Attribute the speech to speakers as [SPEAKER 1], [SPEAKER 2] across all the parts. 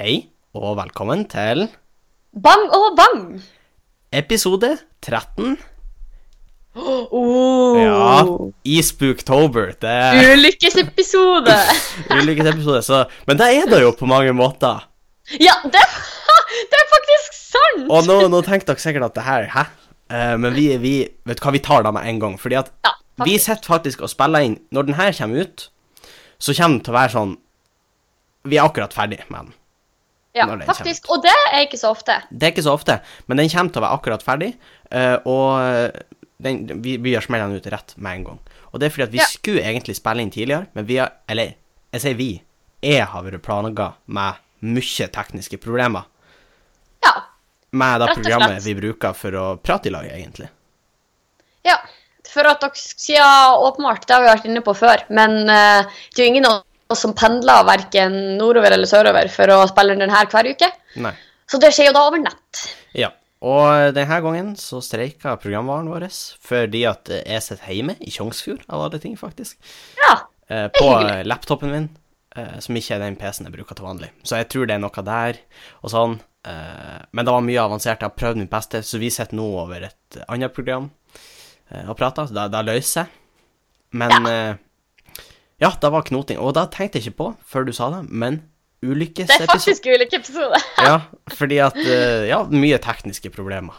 [SPEAKER 1] Hei, og velkommen til
[SPEAKER 2] Bang og bang!
[SPEAKER 1] episode 13
[SPEAKER 2] Oh.
[SPEAKER 1] ja, i Spooktober. Det er
[SPEAKER 2] Ulykkesepisode!
[SPEAKER 1] ulykkesepisode, så Men det er det jo på mange måter.
[SPEAKER 2] Ja, det, det er faktisk sant!
[SPEAKER 1] Og nå, nå tenker dere sikkert at det her Hæ? Eh, men vi, vi Vet du hva, vi tar det med en gang. Fordi at
[SPEAKER 2] Ja,
[SPEAKER 1] vi
[SPEAKER 2] faktisk.
[SPEAKER 1] sitter faktisk og spiller inn Når den her kommer ut, så kommer den til å være sånn Vi er akkurat ferdig med den.
[SPEAKER 2] Ja,
[SPEAKER 1] når den
[SPEAKER 2] faktisk. Og det er ikke så ofte.
[SPEAKER 1] Det er ikke så ofte, men den kommer til å være akkurat ferdig, eh, og den, vi, vi gjør smellene ut rett med en gang. Og det er fordi at vi
[SPEAKER 2] Ja.
[SPEAKER 1] skulle egentlig spille inn tidligere, men vi har Eller, jeg sier vi. Jeg har vært plaga med mye tekniske problemer
[SPEAKER 2] Ja.
[SPEAKER 1] med det
[SPEAKER 2] Rett og
[SPEAKER 1] programmet
[SPEAKER 2] slett.
[SPEAKER 1] vi bruker for å prate i lag, egentlig.
[SPEAKER 2] ja. For at dere sier åpenbart, det har vi vært inne på før, men eh, det er jo ingen av oss som pendler verken nordover eller sørover for å spille inn den her hver uke.
[SPEAKER 1] Nei.
[SPEAKER 2] Så det skjer jo da over nett.
[SPEAKER 1] Ja. Og denne gangen så streika programvaren vår fordi at jeg sitter hjemme i Tjongsfjord, av alle ting, faktisk.
[SPEAKER 2] Ja.
[SPEAKER 1] eh, på
[SPEAKER 2] hyggelig.
[SPEAKER 1] eh, laptopen min, eh, som ikke er den PC-en jeg bruker til vanlig. Så jeg tror det er noe der, og sånn. eh, men det var mye avansert, jeg har prøvd mitt beste, så vi sitter nå over et eh, annet program eh, og prater, så det, det løser jeg. Men ja. ja, det var knoting, og det tenkte jeg ikke på før du sa det, men
[SPEAKER 2] Det er
[SPEAKER 1] ulykkesepisode
[SPEAKER 2] faktisk ulykkesepisode.
[SPEAKER 1] Ja, fordi at eh, Ja, mye tekniske problemer.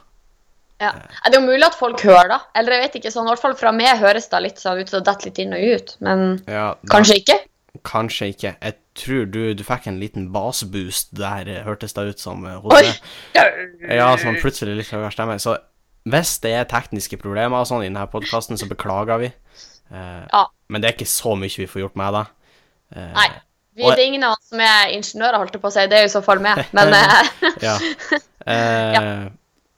[SPEAKER 2] Ja. Ja, Det er jo mulig at folk hører det. Eller jeg vet ikke, sånn, i hvert fall fra meg høres det litt sånn ut som det detter litt inn og ut. Men
[SPEAKER 1] Ja, da-
[SPEAKER 2] kanskje ikke.
[SPEAKER 1] Kanskje ikke. Jeg tror du, du fikk en liten baseboost der, eh, hørtes det ut som eh, hos
[SPEAKER 2] Oi!
[SPEAKER 1] deg. Ja, sånn plutselig litt høyere stemme. Så hvis det er tekniske problemer og sånn i denne podkasten, så beklager vi. Eh,
[SPEAKER 2] Ja.
[SPEAKER 1] Men det er ikke så mye vi får gjort med det. Eh,
[SPEAKER 2] Nei. Vi,
[SPEAKER 1] Og-
[SPEAKER 2] det er ingen av oss som er ingeniører, holdt jeg på å si. Det er jo i så fall meg. Men eh,
[SPEAKER 1] Ja. Eh,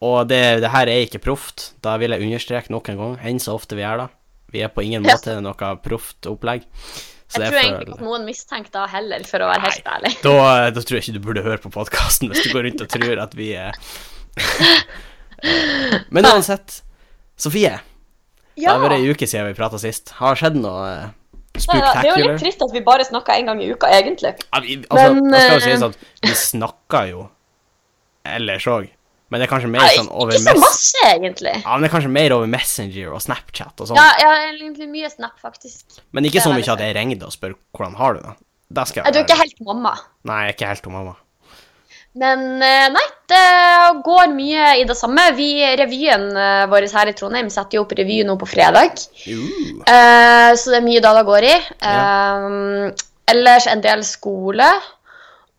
[SPEAKER 1] Og det, det her er ikke proft. Da vil jeg understreke nok en gang, enn så ofte vi gjør det. Vi er på ingen
[SPEAKER 2] Ja.
[SPEAKER 1] måte noe proft opplegg. Så
[SPEAKER 2] jeg
[SPEAKER 1] det
[SPEAKER 2] tror
[SPEAKER 1] er
[SPEAKER 2] egentlig ikke at noen mistenker det heller, for å være helt ærlig.
[SPEAKER 1] Da, da tror jeg ikke du burde høre på podkasten hvis du går rundt og tror at vi er Eh, Men uansett, Sofie.
[SPEAKER 2] Ja.
[SPEAKER 1] Det har vært ei uke siden vi prata sist. Har det skjedd noe eh,
[SPEAKER 2] Det er jo
[SPEAKER 1] spooktacular?
[SPEAKER 2] litt trist at vi bare snakker én gang i uka, egentlig.
[SPEAKER 1] Ja, vi- altså,
[SPEAKER 2] Men,
[SPEAKER 1] det skal jo
[SPEAKER 2] eh,
[SPEAKER 1] sies at vi snakker jo ellers òg, men det er kanskje mer
[SPEAKER 2] Nei,
[SPEAKER 1] sånn over
[SPEAKER 2] ikke så
[SPEAKER 1] mes
[SPEAKER 2] masse, egentlig.
[SPEAKER 1] ja, men det er kanskje mer over Messenger og Snapchat og sånn.
[SPEAKER 2] Ja, ja, egentlig mye snap, faktisk.
[SPEAKER 1] men ikke
[SPEAKER 2] det
[SPEAKER 1] så
[SPEAKER 2] er
[SPEAKER 1] mye at
[SPEAKER 2] det.
[SPEAKER 1] jeg ringer deg og spør hvordan har du det. Det skal
[SPEAKER 2] Jeg
[SPEAKER 1] jeg
[SPEAKER 2] tror ikke
[SPEAKER 1] være.
[SPEAKER 2] helt mamma.
[SPEAKER 1] Nei, jeg er ikke helt hun mamma.
[SPEAKER 2] Men eh, nei, det går mye i det samme. Vi, Revyen eh, vår her i Trondheim setter jo opp revy nå på fredag.
[SPEAKER 1] Uh,
[SPEAKER 2] Eh, så det er mye da det går i. Eh, ellers en del skole.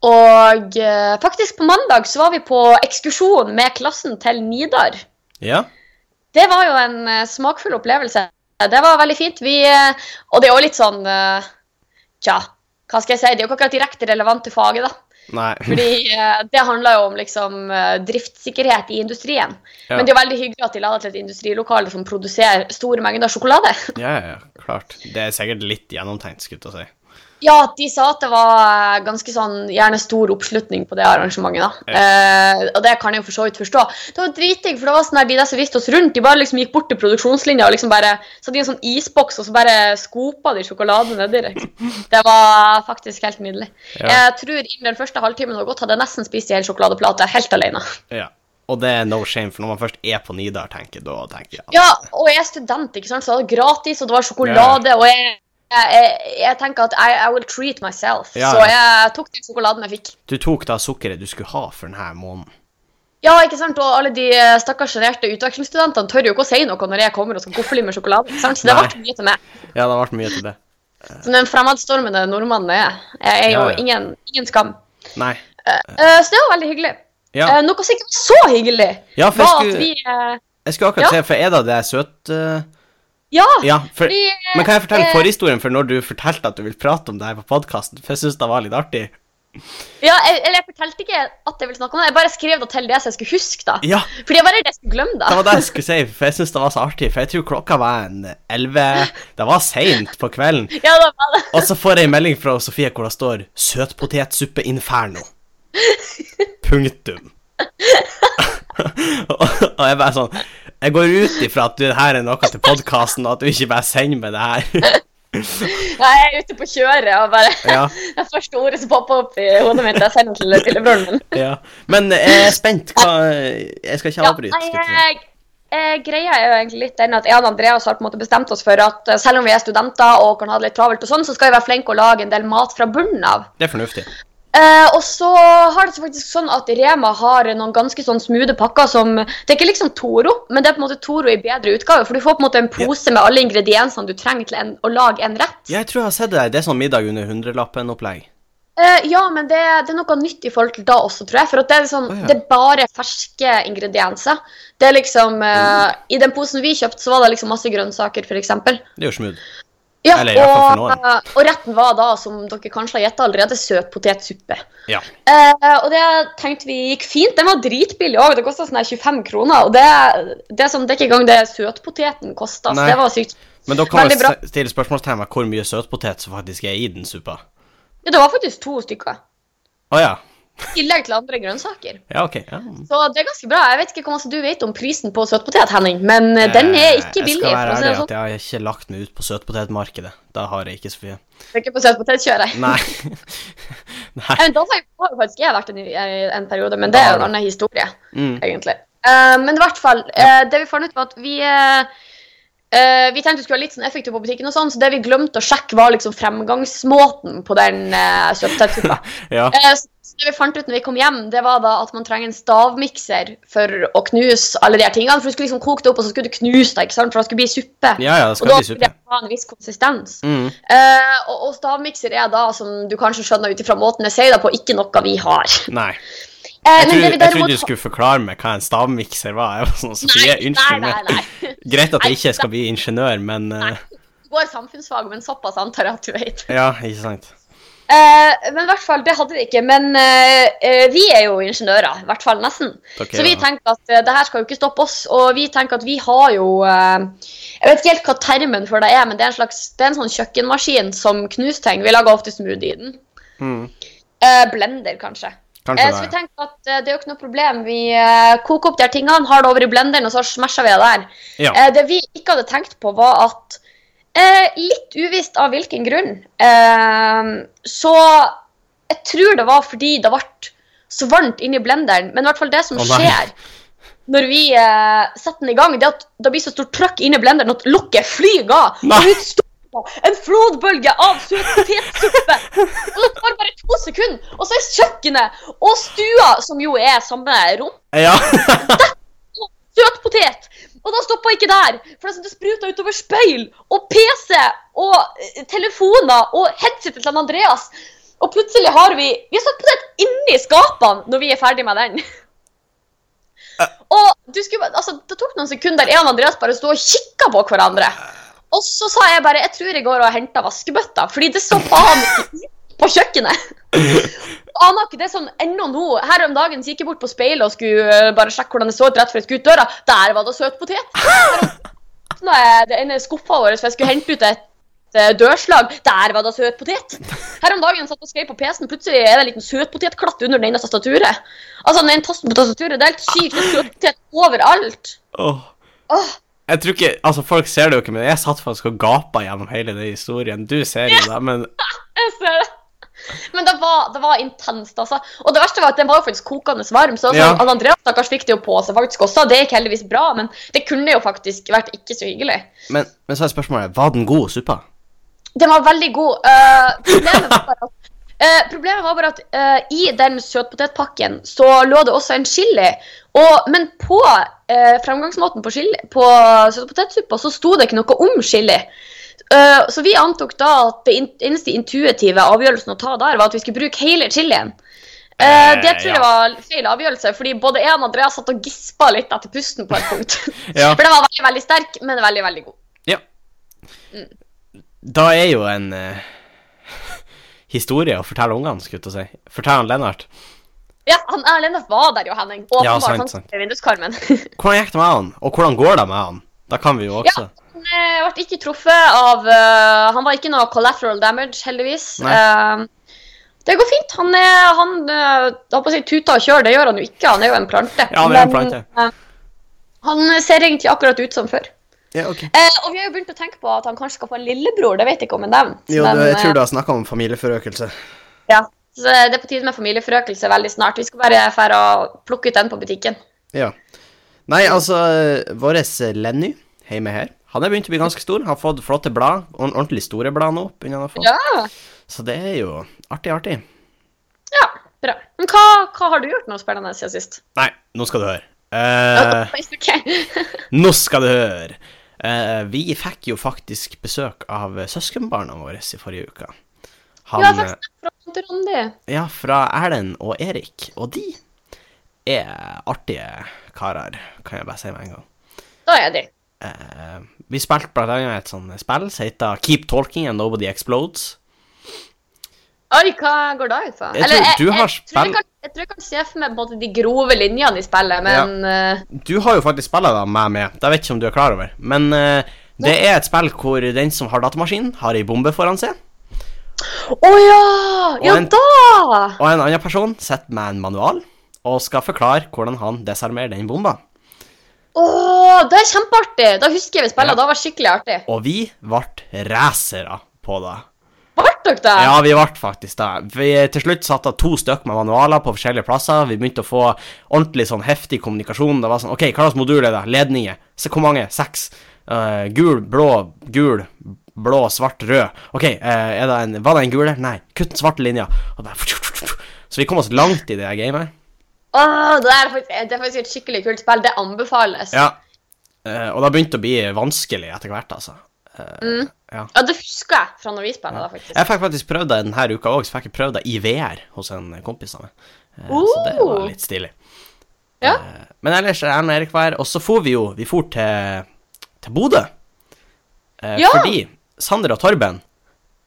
[SPEAKER 2] Og eh, faktisk på mandag så var vi på ekskursjon med klassen til Nidar.
[SPEAKER 1] ja.
[SPEAKER 2] Det var jo en eh, smakfull opplevelse. Det var veldig fint. Vi, eh, og det er jo litt sånn eh, Tja, hva skal jeg si? Det er jo ikke akkurat direkte relevant til faget, da.
[SPEAKER 1] Nei.
[SPEAKER 2] Fordi eh, det handler jo om liksom eh, driftssikkerhet i industrien.
[SPEAKER 1] Ja.
[SPEAKER 2] Men det er jo veldig hyggelig at de lader til et industrilokale som produserer store mengder sjokolade.
[SPEAKER 1] Ja, ja, ja, klart. Det er sikkert litt gjennomtenkt, skulle jeg til å si.
[SPEAKER 2] Ja, de sa at det var eh, ganske sånn gjerne stor oppslutning på det arrangementet, da. Eh, og det kan jeg jo for så vidt forstå. Det var dritdigg, for det var sånn der de der som viste oss rundt, de bare liksom gikk bort til produksjonslinja og liksom bare satt i en sånn isboks og så bare skopa de sjokoladen nedi der. Det var faktisk helt nydelig.
[SPEAKER 1] Ja.
[SPEAKER 2] Jeg tror innen den første halvtimen det var gått, hadde jeg nesten spist i hele sjokoladeplata helt alene.
[SPEAKER 1] Ja. Og det er no shame, for når man først er på Nidar, tenker jeg, da tenker jeg at
[SPEAKER 2] Ja, og jeg er student, ikke sant? så det var gratis, og det var sjokolade. og jeg... Jeg, jeg, jeg tenker at I, I will treat myself,
[SPEAKER 1] Ja,
[SPEAKER 2] så
[SPEAKER 1] ja.
[SPEAKER 2] jeg tok den sjokoladen jeg fikk.
[SPEAKER 1] Du tok da sukkeret du skulle ha for denne måneden.
[SPEAKER 2] Ja, ikke sant, og alle de eh, stakkars sjenerte utvekslingsstudentene tør jo ikke å si noe når jeg kommer og skal gofle med sjokolade. ikke sant, Så det
[SPEAKER 1] Nei.
[SPEAKER 2] ble mye til meg.
[SPEAKER 1] Ja, det har vært mye til det.
[SPEAKER 2] Så den fremadstormende nordmannen er jeg. Jeg er jo
[SPEAKER 1] Ja, ja.
[SPEAKER 2] Ingen, ingen skam.
[SPEAKER 1] Nei.
[SPEAKER 2] Eh, så det var veldig hyggelig.
[SPEAKER 1] Ja.
[SPEAKER 2] Eh, noe som ikke var så hyggelig,
[SPEAKER 1] Ja, for jeg
[SPEAKER 2] var at
[SPEAKER 1] skulle-
[SPEAKER 2] vi eh,
[SPEAKER 1] Jeg skulle akkurat
[SPEAKER 2] Ja.
[SPEAKER 1] se, for er det det søt eh,
[SPEAKER 2] Ja!
[SPEAKER 1] Ja, for
[SPEAKER 2] fordi, eh,
[SPEAKER 1] Men kan jeg fortelle
[SPEAKER 2] eh,
[SPEAKER 1] forhistorien for når du fortalte at du ville prate om det her på podkasten? For jeg syns det var litt artig.
[SPEAKER 2] Ja, jeg, eller jeg fortalte ikke at jeg ville snakke om det, jeg bare skrev det til det så jeg skulle huske det.
[SPEAKER 1] Ja,
[SPEAKER 2] Fordi jeg var redd jeg skulle glemme det.
[SPEAKER 1] det var det jeg skulle si, for jeg syns det var så artig. For jeg tror klokka var en elleve Det var seint på kvelden.
[SPEAKER 2] Ja, det var det.
[SPEAKER 1] Og så får jeg en melding fra Sofie hvor det står 'Søtpotetsuppe inferno'. Punktum. og og jeg bare sånn Jeg går ut ifra at du, det her er noe til podkasten, og at du ikke bare sender meg det her.
[SPEAKER 2] Nei, jeg er ute på kjøret og bare
[SPEAKER 1] Ja,
[SPEAKER 2] Det er første ordet som popper opp i hodet mitt. Jeg sender til lillebroren min.
[SPEAKER 1] ja. Men jeg er spent. Hva Jeg skal ikke
[SPEAKER 2] Ja,
[SPEAKER 1] avbryte.
[SPEAKER 2] nei,
[SPEAKER 1] skulle jeg til å si.
[SPEAKER 2] jeg, eh, greia er jo egentlig litt den at jeg og Andreas har på en måte bestemt oss for at eh, selv om vi er studenter og kan ha det litt travelt, og sånn, så skal vi være flinke å lage en del mat fra bunnen av.
[SPEAKER 1] Det er fornuftig.
[SPEAKER 2] Eh, og så har det seg faktisk sånn at Rema har noen ganske sånn smoothe pakker som Det er ikke liksom Toro, men det er på en måte Toro i bedre utgave. For du får på en måte en pose med alle ingrediensene du trenger til en, å lage en rett.
[SPEAKER 1] Ja, jeg tror jeg har sett det der. Det er sånn middag under hundrelappen-opplegg.
[SPEAKER 2] Eh, ja, men det, det er noe nytt i forhold til da også, tror jeg. For at det, er sånn,
[SPEAKER 1] Å, ja.
[SPEAKER 2] det er bare ferske ingredienser. Det er liksom eh, I den posen vi kjøpte, så var det liksom masse grønnsaker, f.eks.
[SPEAKER 1] Det er jo smooth.
[SPEAKER 2] Ja,
[SPEAKER 1] Eller i hvert fall for
[SPEAKER 2] og, eh, og retten var da, som dere kanskje har gjetta allerede, søtpotetsuppe.
[SPEAKER 1] Ja.
[SPEAKER 2] Eh, og det tenkte vi gikk fint. Den var dritbillig òg. Det kosta sånn her 25 kroner. Og det, det, er sånn, det er ikke engang det søtpoteten kosta. Så
[SPEAKER 1] Nei.
[SPEAKER 2] det var sykt.
[SPEAKER 1] Men da kan
[SPEAKER 2] Veldig
[SPEAKER 1] man
[SPEAKER 2] bra.
[SPEAKER 1] se- stille spørsmålstegn ved hvor mye søtpotet som faktisk er i den suppa.
[SPEAKER 2] Ja, det var faktisk to stykker.
[SPEAKER 1] Å ja.
[SPEAKER 2] I tillegg til andre grønnsaker.
[SPEAKER 1] Ja, OK. Ja.
[SPEAKER 2] Så det er ganske bra. Jeg vet ikke hvor masse du vet om prisen på søtpotet, Henning, men eh, den er ikke billig.
[SPEAKER 1] Jeg skal være
[SPEAKER 2] for å si det
[SPEAKER 1] ærlig
[SPEAKER 2] sånn.
[SPEAKER 1] at jeg har ikke lagt meg ut på søtpotetmarkedet. Da har jeg ikke så mye.
[SPEAKER 2] Det er ikke på søtpotetkjøret.
[SPEAKER 1] Nei. Nei.
[SPEAKER 2] Men da har jeg har jo faktisk jeg vært en, eh, en periode, men det er jo en annen historie,
[SPEAKER 1] Mm.
[SPEAKER 2] egentlig. Eh, men i hvert fall, eh, det vi fant ut var at vi eh, eh, vi tenkte vi skulle være litt sånn effektive på butikken, og sånn, så det vi glemte å sjekke, var liksom fremgangsmåten på den uh, søtpotetsuppa.
[SPEAKER 1] Ja.
[SPEAKER 2] Eh, Så det vi fant ut når vi kom hjem, det var da at man trenger en stavmikser for å knuse alle de her tingene. For du skulle liksom koke det opp, og så skulle du knuse det, ikke sant? for det skulle bli suppe.
[SPEAKER 1] ja ja, det
[SPEAKER 2] og
[SPEAKER 1] skal
[SPEAKER 2] da
[SPEAKER 1] bli
[SPEAKER 2] skulle
[SPEAKER 1] suppe.
[SPEAKER 2] det ha en viss konsistens.
[SPEAKER 1] Mm.
[SPEAKER 2] Eh, og, og stavmikser er da, som du kanskje skjønner ut ifra måten jeg sier det på, ikke noe vi har.
[SPEAKER 1] Nei.
[SPEAKER 2] Eh,
[SPEAKER 1] Jeg, trodde-
[SPEAKER 2] men det vi
[SPEAKER 1] jeg trodde
[SPEAKER 2] derimot
[SPEAKER 1] du skulle forklare meg hva en stavmikser var. Jeg var sånn, Sofie,
[SPEAKER 2] Nei,
[SPEAKER 1] unnskyld
[SPEAKER 2] nei,
[SPEAKER 1] meg.
[SPEAKER 2] nei,
[SPEAKER 1] Greit at jeg
[SPEAKER 2] Nei,
[SPEAKER 1] ikke skal bli ingeniør, men eh,
[SPEAKER 2] Du går samfunnsfag, men såpass antar jeg at du vet.
[SPEAKER 1] Ja, ikke sant.
[SPEAKER 2] Eh, men i hvert fall, det hadde vi ikke. Men eh, eh, vi er jo ingeniører, i hvert fall nesten.
[SPEAKER 1] Takk,
[SPEAKER 2] Så vi
[SPEAKER 1] ja.
[SPEAKER 2] tenker at eh, det her skal jo ikke stoppe oss, og vi tenker at vi har jo eh, Jeg vet ikke helt hva termen for det er, men det er en slags, det er en sånn kjøkkenmaskin som knuser ting. Vi lager ofte smoothie i den.
[SPEAKER 1] Mm.
[SPEAKER 2] Eh, blender, kanskje.
[SPEAKER 1] Kanskje
[SPEAKER 2] Eh, så vi
[SPEAKER 1] det. er-
[SPEAKER 2] tenker at eh, det er jo ikke noe problem. Vi eh, koker opp de her tingene, har det over i blenderen, og så smasher vi det der.
[SPEAKER 1] Ja.
[SPEAKER 2] Eh, det vi ikke hadde tenkt på, var at eh, Litt uvisst av hvilken grunn, eh, så Jeg tror det var fordi det ble så varmt inni blenderen, men i hvert fall det som
[SPEAKER 1] Å, nei.
[SPEAKER 2] skjer når vi eh, setter den i gang, det er at det blir så stort trøkk inni blenderen at lokket flyr av.
[SPEAKER 1] Nei.
[SPEAKER 2] Og ut står En flodbølge av søt potetsuppe. Og det tar bare to sekunder, og så er kjøkkenet og stua, som jo er samme rom,
[SPEAKER 1] Ja.
[SPEAKER 2] søt potet. Og da stoppa ikke der, for det er sånn det spruta utover speil og PC og eh, telefoner og headsetet til han Andreas. Og plutselig har vi Vi har satt potet inni skapene når vi er ferdig med den. Og du skulle, bare- altså, Det tok noen sekunder der jeg og Andreas bare sto og kikka på hverandre. Og så sa jeg bare jeg tror jeg går og henter vaskebøtta, fordi det så faen ikke ut på kjøkkenet. Aner ikke, det er sånn ennå nå. Her om dagen så gikk jeg bort på speilet og skulle eh, bare sjekke hvordan det så ut rett før jeg skulle ut døra. Der var det søt potet. Her om- Nå er det ene skuffa vår, for jeg skulle hente ut et eh, dørslag. Der var det søt potet. Her om dagen satt jeg og skrev på PC-en, plutselig er det en liten søtpotetklatt under den ene tastaturet. Altså, den ene tasten på tastaturet, det er helt sykt. Det er søtpotet overalt.
[SPEAKER 1] Åh.
[SPEAKER 2] Åh,
[SPEAKER 1] Jeg tror ikke, altså Folk ser det jo ikke, men jeg satt faktisk og gapa gjennom hele den historien. Du ser jo det, men
[SPEAKER 2] jeg ser det. Men det var, det var intenst, altså. Og det verste var at den var jo faktisk kokende varm. Så altså,
[SPEAKER 1] Ja.
[SPEAKER 2] han Andreas stakkars fikk det jo på seg faktisk også. Det gikk heldigvis bra, men det kunne jo faktisk vært ikke så hyggelig.
[SPEAKER 1] Men, men så er spørsmålet var den god, suppa?
[SPEAKER 2] Den var veldig god. Eh, problemet var bare at, eh, problemet var bare at eh, i den søtpotetpakken så lå det også en chili. Og, men på eh, fremgangsmåten på, chili, på søtpotetsuppa så sto det ikke noe om chili. Eh, så vi antok da at det in eneste intuitive avgjørelsen å ta der, var at vi skulle bruke hele chilien. Eh, det
[SPEAKER 1] Eh,
[SPEAKER 2] tror
[SPEAKER 1] ja.
[SPEAKER 2] jeg var feil avgjørelse, fordi både jeg og Andreas satt og gispa litt etter pusten på et punkt.
[SPEAKER 1] Ja.
[SPEAKER 2] For den var veldig, veldig sterk, men veldig, veldig god.
[SPEAKER 1] Ja. Da er jo en eh, historie å fortelle ungene, skulle jeg til å si. Fortell han Lennart.
[SPEAKER 2] Ja, han Erlend var der jo, Henning. Åpenbart.
[SPEAKER 1] Ja, sant,
[SPEAKER 2] han
[SPEAKER 1] sant.
[SPEAKER 2] satt ved vinduskarmen.
[SPEAKER 1] Hvordan gikk det med han, og hvordan går det med han? Da kan vi jo
[SPEAKER 2] ja,
[SPEAKER 1] også.
[SPEAKER 2] han eh, ble ikke truffet av eh, Han var ikke noe collateral damage, heldigvis.
[SPEAKER 1] Nei.
[SPEAKER 2] Eh, det går fint. Han er han, eh, holdt på å si tuta og kjør, det gjør han jo ikke. Han er jo en plante.
[SPEAKER 1] Ja, han er en plante.
[SPEAKER 2] Men, eh, han ser egentlig akkurat ut som før.
[SPEAKER 1] Ja. Ja, ok.
[SPEAKER 2] Eh, og vi har jo begynt å tenke på at han kanskje skal få en lillebror. Det vet jeg ikke om jeg nevnte.
[SPEAKER 1] Jo,
[SPEAKER 2] men,
[SPEAKER 1] du, jeg
[SPEAKER 2] eh,
[SPEAKER 1] tror du har snakka om familieforøkelse.
[SPEAKER 2] ja. Så det er på tide med familieforøkelse veldig snart. Vi skal bare fære og plukke ut den på butikken.
[SPEAKER 1] Ja. Nei, altså, vår eh, Lenny hjemme her, han er begynt å bli ganske stor. Har fått flotte blad, ord- ordentlig store blad nå. begynner han å få.
[SPEAKER 2] Ja,
[SPEAKER 1] Så det er jo artig, artig.
[SPEAKER 2] ja bra. Men hva, hva har du gjort nå spennende siden sist?
[SPEAKER 1] Nei, nå skal du høre. Eh,
[SPEAKER 2] Ok.
[SPEAKER 1] nå skal du høre! Eh, vi fikk jo faktisk besøk av søskenbarna våre i forrige uke. Han, eh,
[SPEAKER 2] Ja, faktisk. Fra Tante Randi.
[SPEAKER 1] Ja, fra Erlend og Erik. Og de er artige karer, kan jeg bare si med en gang.
[SPEAKER 2] Da er de.
[SPEAKER 1] Eh, vi spilte blant annet et sånt spill som heter Keep Talking and Nobody Explodes.
[SPEAKER 2] Oi, hva går da ut på?
[SPEAKER 1] Jeg tror du har
[SPEAKER 2] jeg, tror
[SPEAKER 1] spill-
[SPEAKER 2] jeg, kan, jeg tror jeg kan se for meg på en måte de grove linjene i spillet, men eh,
[SPEAKER 1] Du har jo faktisk spilla da med med, det vet ikke om du er klar over. Men eh, det er et spill hvor den som har datamaskin, har ei bombe foran seg,
[SPEAKER 2] Å ja! Ja
[SPEAKER 1] en-
[SPEAKER 2] da!
[SPEAKER 1] og en annen person sitter med en manual og skal forklare hvordan han desarmerer den bomba.
[SPEAKER 2] Å, det er kjempeartig! Da husker jeg vi spilla,
[SPEAKER 1] Ja.
[SPEAKER 2] da var det skikkelig artig.
[SPEAKER 1] Og vi ble racere på det.
[SPEAKER 2] Ble dere det?
[SPEAKER 1] Ja, vi ble faktisk det. Vi til slutt satte to stykk med manualer på forskjellige plasser. Vi begynte å få ordentlig sånn heftig kommunikasjon. Det var sånn OK, hva slags modul er det? Ledninger. Se hvor mange? Seks. Eh, gul, blå, gul, blå, svart, rød. OK, eh, er det en, var det en gul der? Nei. Kutt den svarte linja. Og bare Så vi kom oss langt i det her gamet.
[SPEAKER 2] Å, det, er faktisk, det er faktisk et skikkelig kult spill. Det anbefales.
[SPEAKER 1] Ja. Eh, og det begynte å bli vanskelig etter hvert, altså.
[SPEAKER 2] Ja, det husker jeg fra når vi spilte, da, faktisk.
[SPEAKER 1] Jeg fikk faktisk prøvd det denne uka òg, så fikk jeg prøvd det i VR hos en kompis av meg. Eh, Så det var
[SPEAKER 2] Oh.
[SPEAKER 1] litt stilig.
[SPEAKER 2] Ja.
[SPEAKER 1] Eh, Men ellers er Erlend og Erik var her, og så for vi jo Vi for til, til Bodø. Eh,
[SPEAKER 2] Ja.
[SPEAKER 1] Fordi Sander og Torben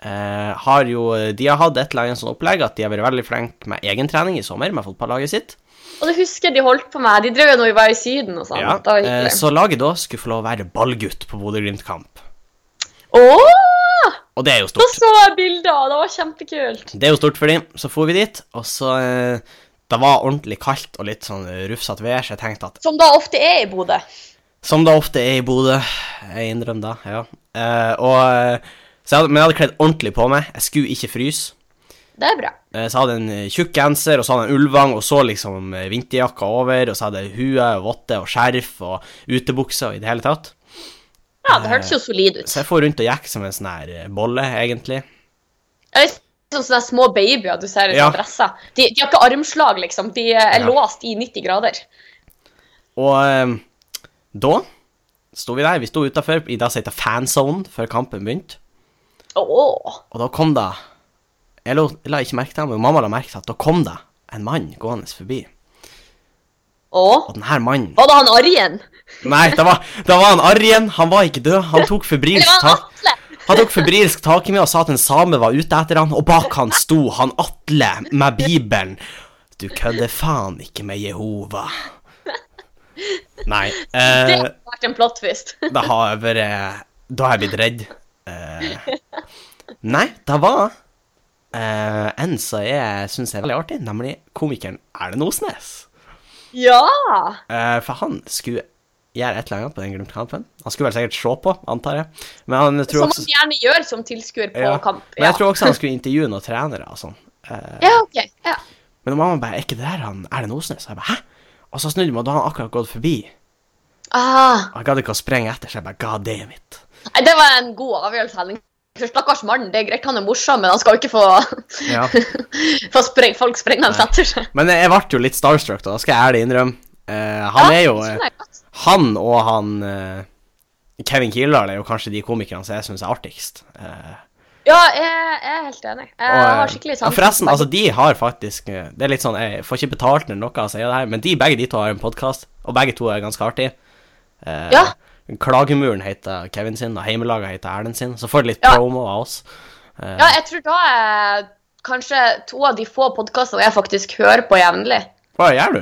[SPEAKER 1] eh, har jo De har hatt et eller annet sånn opplegg at de har vært veldig flinke med egentrening i sommer med fotballaget sitt.
[SPEAKER 2] Og det husker jeg de holdt på med. De drev jo når vi var i Syden og sånn.
[SPEAKER 1] Ja.
[SPEAKER 2] Det var
[SPEAKER 1] Eh,
[SPEAKER 2] hyggelig.
[SPEAKER 1] Så laget da skulle få lov å være ballgutt på Bodø-Glimt-kamp.
[SPEAKER 2] Å!
[SPEAKER 1] Og det er jo stort.
[SPEAKER 2] Da så jeg bilder, og det var kjempekult.
[SPEAKER 1] Det er jo stort for dem. Så for vi dit, og så eh, Det var ordentlig kaldt og litt sånn rufsete vær, så jeg tenkte at
[SPEAKER 2] Som da ofte er i Bodø.
[SPEAKER 1] Som det ofte er i Bodø. Jeg innrømmer det, ja. Eh, og, eh, så jeg hadde, men jeg hadde kledd ordentlig på meg. Jeg skulle ikke fryse.
[SPEAKER 2] Det er bra.
[SPEAKER 1] Eh, så jeg hadde en eh, tjukk genser, og så hadde jeg en ullvang, og så liksom eh, vinterjakka over, og så hadde jeg hue og votter og skjerf og utebukse og i det hele tatt.
[SPEAKER 2] Ja, det hørtes jo solid ut.
[SPEAKER 1] Så jeg får rundt og gikk som en sånn her eh, bolle, egentlig.
[SPEAKER 2] Det er Sånn sånne små babyer du ser i
[SPEAKER 1] Ja.
[SPEAKER 2] sånne dresser. De, de har ikke armslag, liksom. De er
[SPEAKER 1] Ja.
[SPEAKER 2] låst i 90 grader.
[SPEAKER 1] Og eh, da sto vi der. Vi sto utafor i det som heter fanzone, før kampen begynte.
[SPEAKER 2] Åh.
[SPEAKER 1] Og da kom det Jeg la, jeg la ikke merke til det, men mamma la merke til at da kom det en mann gående forbi.
[SPEAKER 2] Åh.
[SPEAKER 1] Og den her mannen
[SPEAKER 2] Var det han Arjen?
[SPEAKER 1] Nei, det var, det var han Arjen. Han var ikke død. Han tok
[SPEAKER 2] Eller
[SPEAKER 1] febrilsk
[SPEAKER 2] var han
[SPEAKER 1] tak,
[SPEAKER 2] Atle?
[SPEAKER 1] han tok febrilsk tak i meg og sa at en same var ute etter han, og bak han sto han Atle med Bibelen. Du kødder faen ikke med Jehova. Nei.
[SPEAKER 2] Det
[SPEAKER 1] Eh,
[SPEAKER 2] har vært en plot twist.
[SPEAKER 1] det har vært eh, Da har jeg blitt redd. Eh, nei, det var eh, en som jeg syns er veldig artig, nemlig komikeren Erlend Osnes.
[SPEAKER 2] Ja!
[SPEAKER 1] Eh, for han skulle gjøre et eller annet på den Glimt-kampen. Han skulle vel sikkert se på, antar jeg. Men, han, jeg tror
[SPEAKER 2] Som
[SPEAKER 1] også,
[SPEAKER 2] man gjerne gjør som tilskuer på
[SPEAKER 1] ja.
[SPEAKER 2] kamp.
[SPEAKER 1] Men
[SPEAKER 2] Ja.
[SPEAKER 1] jeg tror også han skulle intervjue noen trenere og sånn.
[SPEAKER 2] ja, ok. Ja.
[SPEAKER 1] Men mamma bare Er ikke det der han Erlend Osnes? Og jeg bare Hæ? Og så snudde jeg meg, og da hadde han akkurat gått forbi.
[SPEAKER 2] Ah,
[SPEAKER 1] Og jeg gadd ikke å sprenge etter, så jeg bare God damn it.
[SPEAKER 2] nei, det var en god avgjørelse, Henning. For Stakkars mann, det er greit han er morsom, men han skal jo ikke få,
[SPEAKER 1] Ja.
[SPEAKER 2] få spreng, folk sprengende etter seg.
[SPEAKER 1] Men jeg ble jo litt starstruck, da. Skal jeg ærlig innrømme. Eh, han er jo eh,
[SPEAKER 2] Ja, skjønner jeg godt.
[SPEAKER 1] Han og han eh, Kevin Kildahl er jo kanskje de komikerne som jeg syns er artigst. Eh,
[SPEAKER 2] Ja, jeg, jeg er helt enig. Jeg
[SPEAKER 1] og, eh,
[SPEAKER 2] har skikkelig
[SPEAKER 1] ja,
[SPEAKER 2] sans
[SPEAKER 1] Forresten, altså, de har faktisk eh, Det er litt sånn, Jeg får ikke betalt eller noe av å si det her, men de, begge de to har en podkast, og begge to er ganske artige. Eh,
[SPEAKER 2] Ja.
[SPEAKER 1] Klagemuren heter Kevin sin, og Heimelaget heter Erlend sin. Så får de litt
[SPEAKER 2] Ja.
[SPEAKER 1] promo av oss. Eh,
[SPEAKER 2] Ja, jeg tror da er kanskje to av de få podkastene jeg faktisk hører på jevnlig.
[SPEAKER 1] Hva gjør du?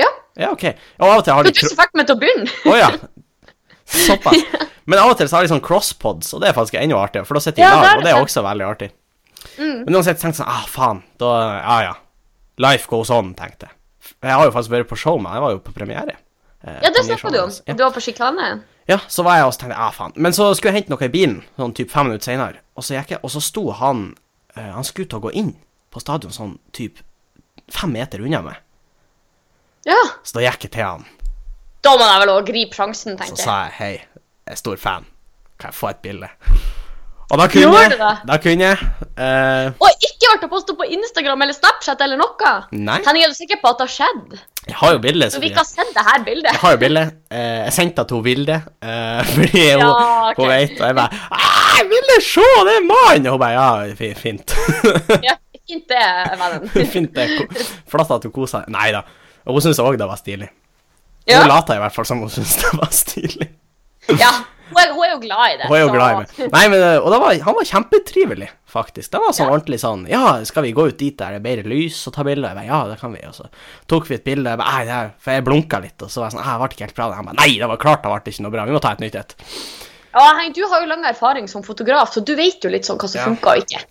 [SPEAKER 2] Ja.
[SPEAKER 1] Ja, OK. Og av og til har de
[SPEAKER 2] Det var du
[SPEAKER 1] tro-
[SPEAKER 2] som fikk meg til å begynne.
[SPEAKER 1] Å ja. Såpass. Men av og til så har de sånn crosspods, og det er faktisk enda artigere, for da sitter de i
[SPEAKER 2] Ja, det
[SPEAKER 1] lag,
[SPEAKER 2] er
[SPEAKER 1] og det er
[SPEAKER 2] det. Mm.
[SPEAKER 1] også veldig artig. Men uansett tenkte jeg sånn Ah, faen. Da Ja, ja. Life goes on, tenkte jeg. Jeg har jo faktisk vært på show med Jeg var jo på premiere. eh,
[SPEAKER 2] Ja, det
[SPEAKER 1] Anja
[SPEAKER 2] snakka du om.
[SPEAKER 1] Sjånes. Ja.
[SPEAKER 2] Du var på sjikane.
[SPEAKER 1] Ja, så var jeg og så tenkte jeg, ah faen. Men så skulle jeg hente noe i bilen, sånn typ fem minutter senere. Og så gikk jeg, og så sto han, eh, han skulle til å gå inn på stadion sånn typ fem meter unna meg.
[SPEAKER 2] Ja.
[SPEAKER 1] Så da gikk jeg til han,
[SPEAKER 2] Da må jeg vel òg gripe sjansen,
[SPEAKER 1] så
[SPEAKER 2] tenker jeg.
[SPEAKER 1] sa jeg, hei, jeg er stor fan, kan jeg få et bilde? Og da kunne
[SPEAKER 2] Gjorde du
[SPEAKER 1] jeg,
[SPEAKER 2] det?
[SPEAKER 1] da kunne jeg, eh,
[SPEAKER 2] Og ikke vært å poste på Instagram eller Snapchat eller noe.
[SPEAKER 1] Nei.
[SPEAKER 2] Henning, er du sikker på at det har skjedd?
[SPEAKER 1] jeg har jo bildet,
[SPEAKER 2] Når
[SPEAKER 1] Sofie.
[SPEAKER 2] vi ikke har sett det her
[SPEAKER 1] Jeg
[SPEAKER 2] bildet.
[SPEAKER 1] har jo bildet. Eh, jeg sendte det til hun Vilde, eh, fordi hun,
[SPEAKER 2] Ja, ok.
[SPEAKER 1] hun vet, og jeg bare, «Ah, jeg ville se, det er mann! Og hun bare, ja, fi- fint.
[SPEAKER 2] Ja, fint det, vennen.
[SPEAKER 1] Fint det. Ko- Flott at hun koser seg. Nei da. Og hun syns òg det var stilig.
[SPEAKER 2] Ja.
[SPEAKER 1] Hun later i hvert fall som hun syns det var stilig.
[SPEAKER 2] ja. Hun, er, hun er jo glad i det.
[SPEAKER 1] Hun er jo
[SPEAKER 2] så-
[SPEAKER 1] glad i meg. Nei, men, øh, og da var, han var kjempetrivelig, faktisk. Det var sånn ordentlig sånn Ja, skal vi gå ut dit der det er bedre lys og ta bilder? Jeg bare, ja, det kan vi. Og så tok vi et bilde. Jeg bare, «Nei, det er, for jeg blunka litt, og så var jeg sånn «Nei, Det ble ikke helt bra. Han bare Nei, det var klart det ble ikke noe bra. Vi må ta et nytt et.
[SPEAKER 2] Ja, Henning, du har jo lang erfaring som fotograf, så du vet jo litt sånn hva som
[SPEAKER 1] Ja.
[SPEAKER 2] funker og ikke.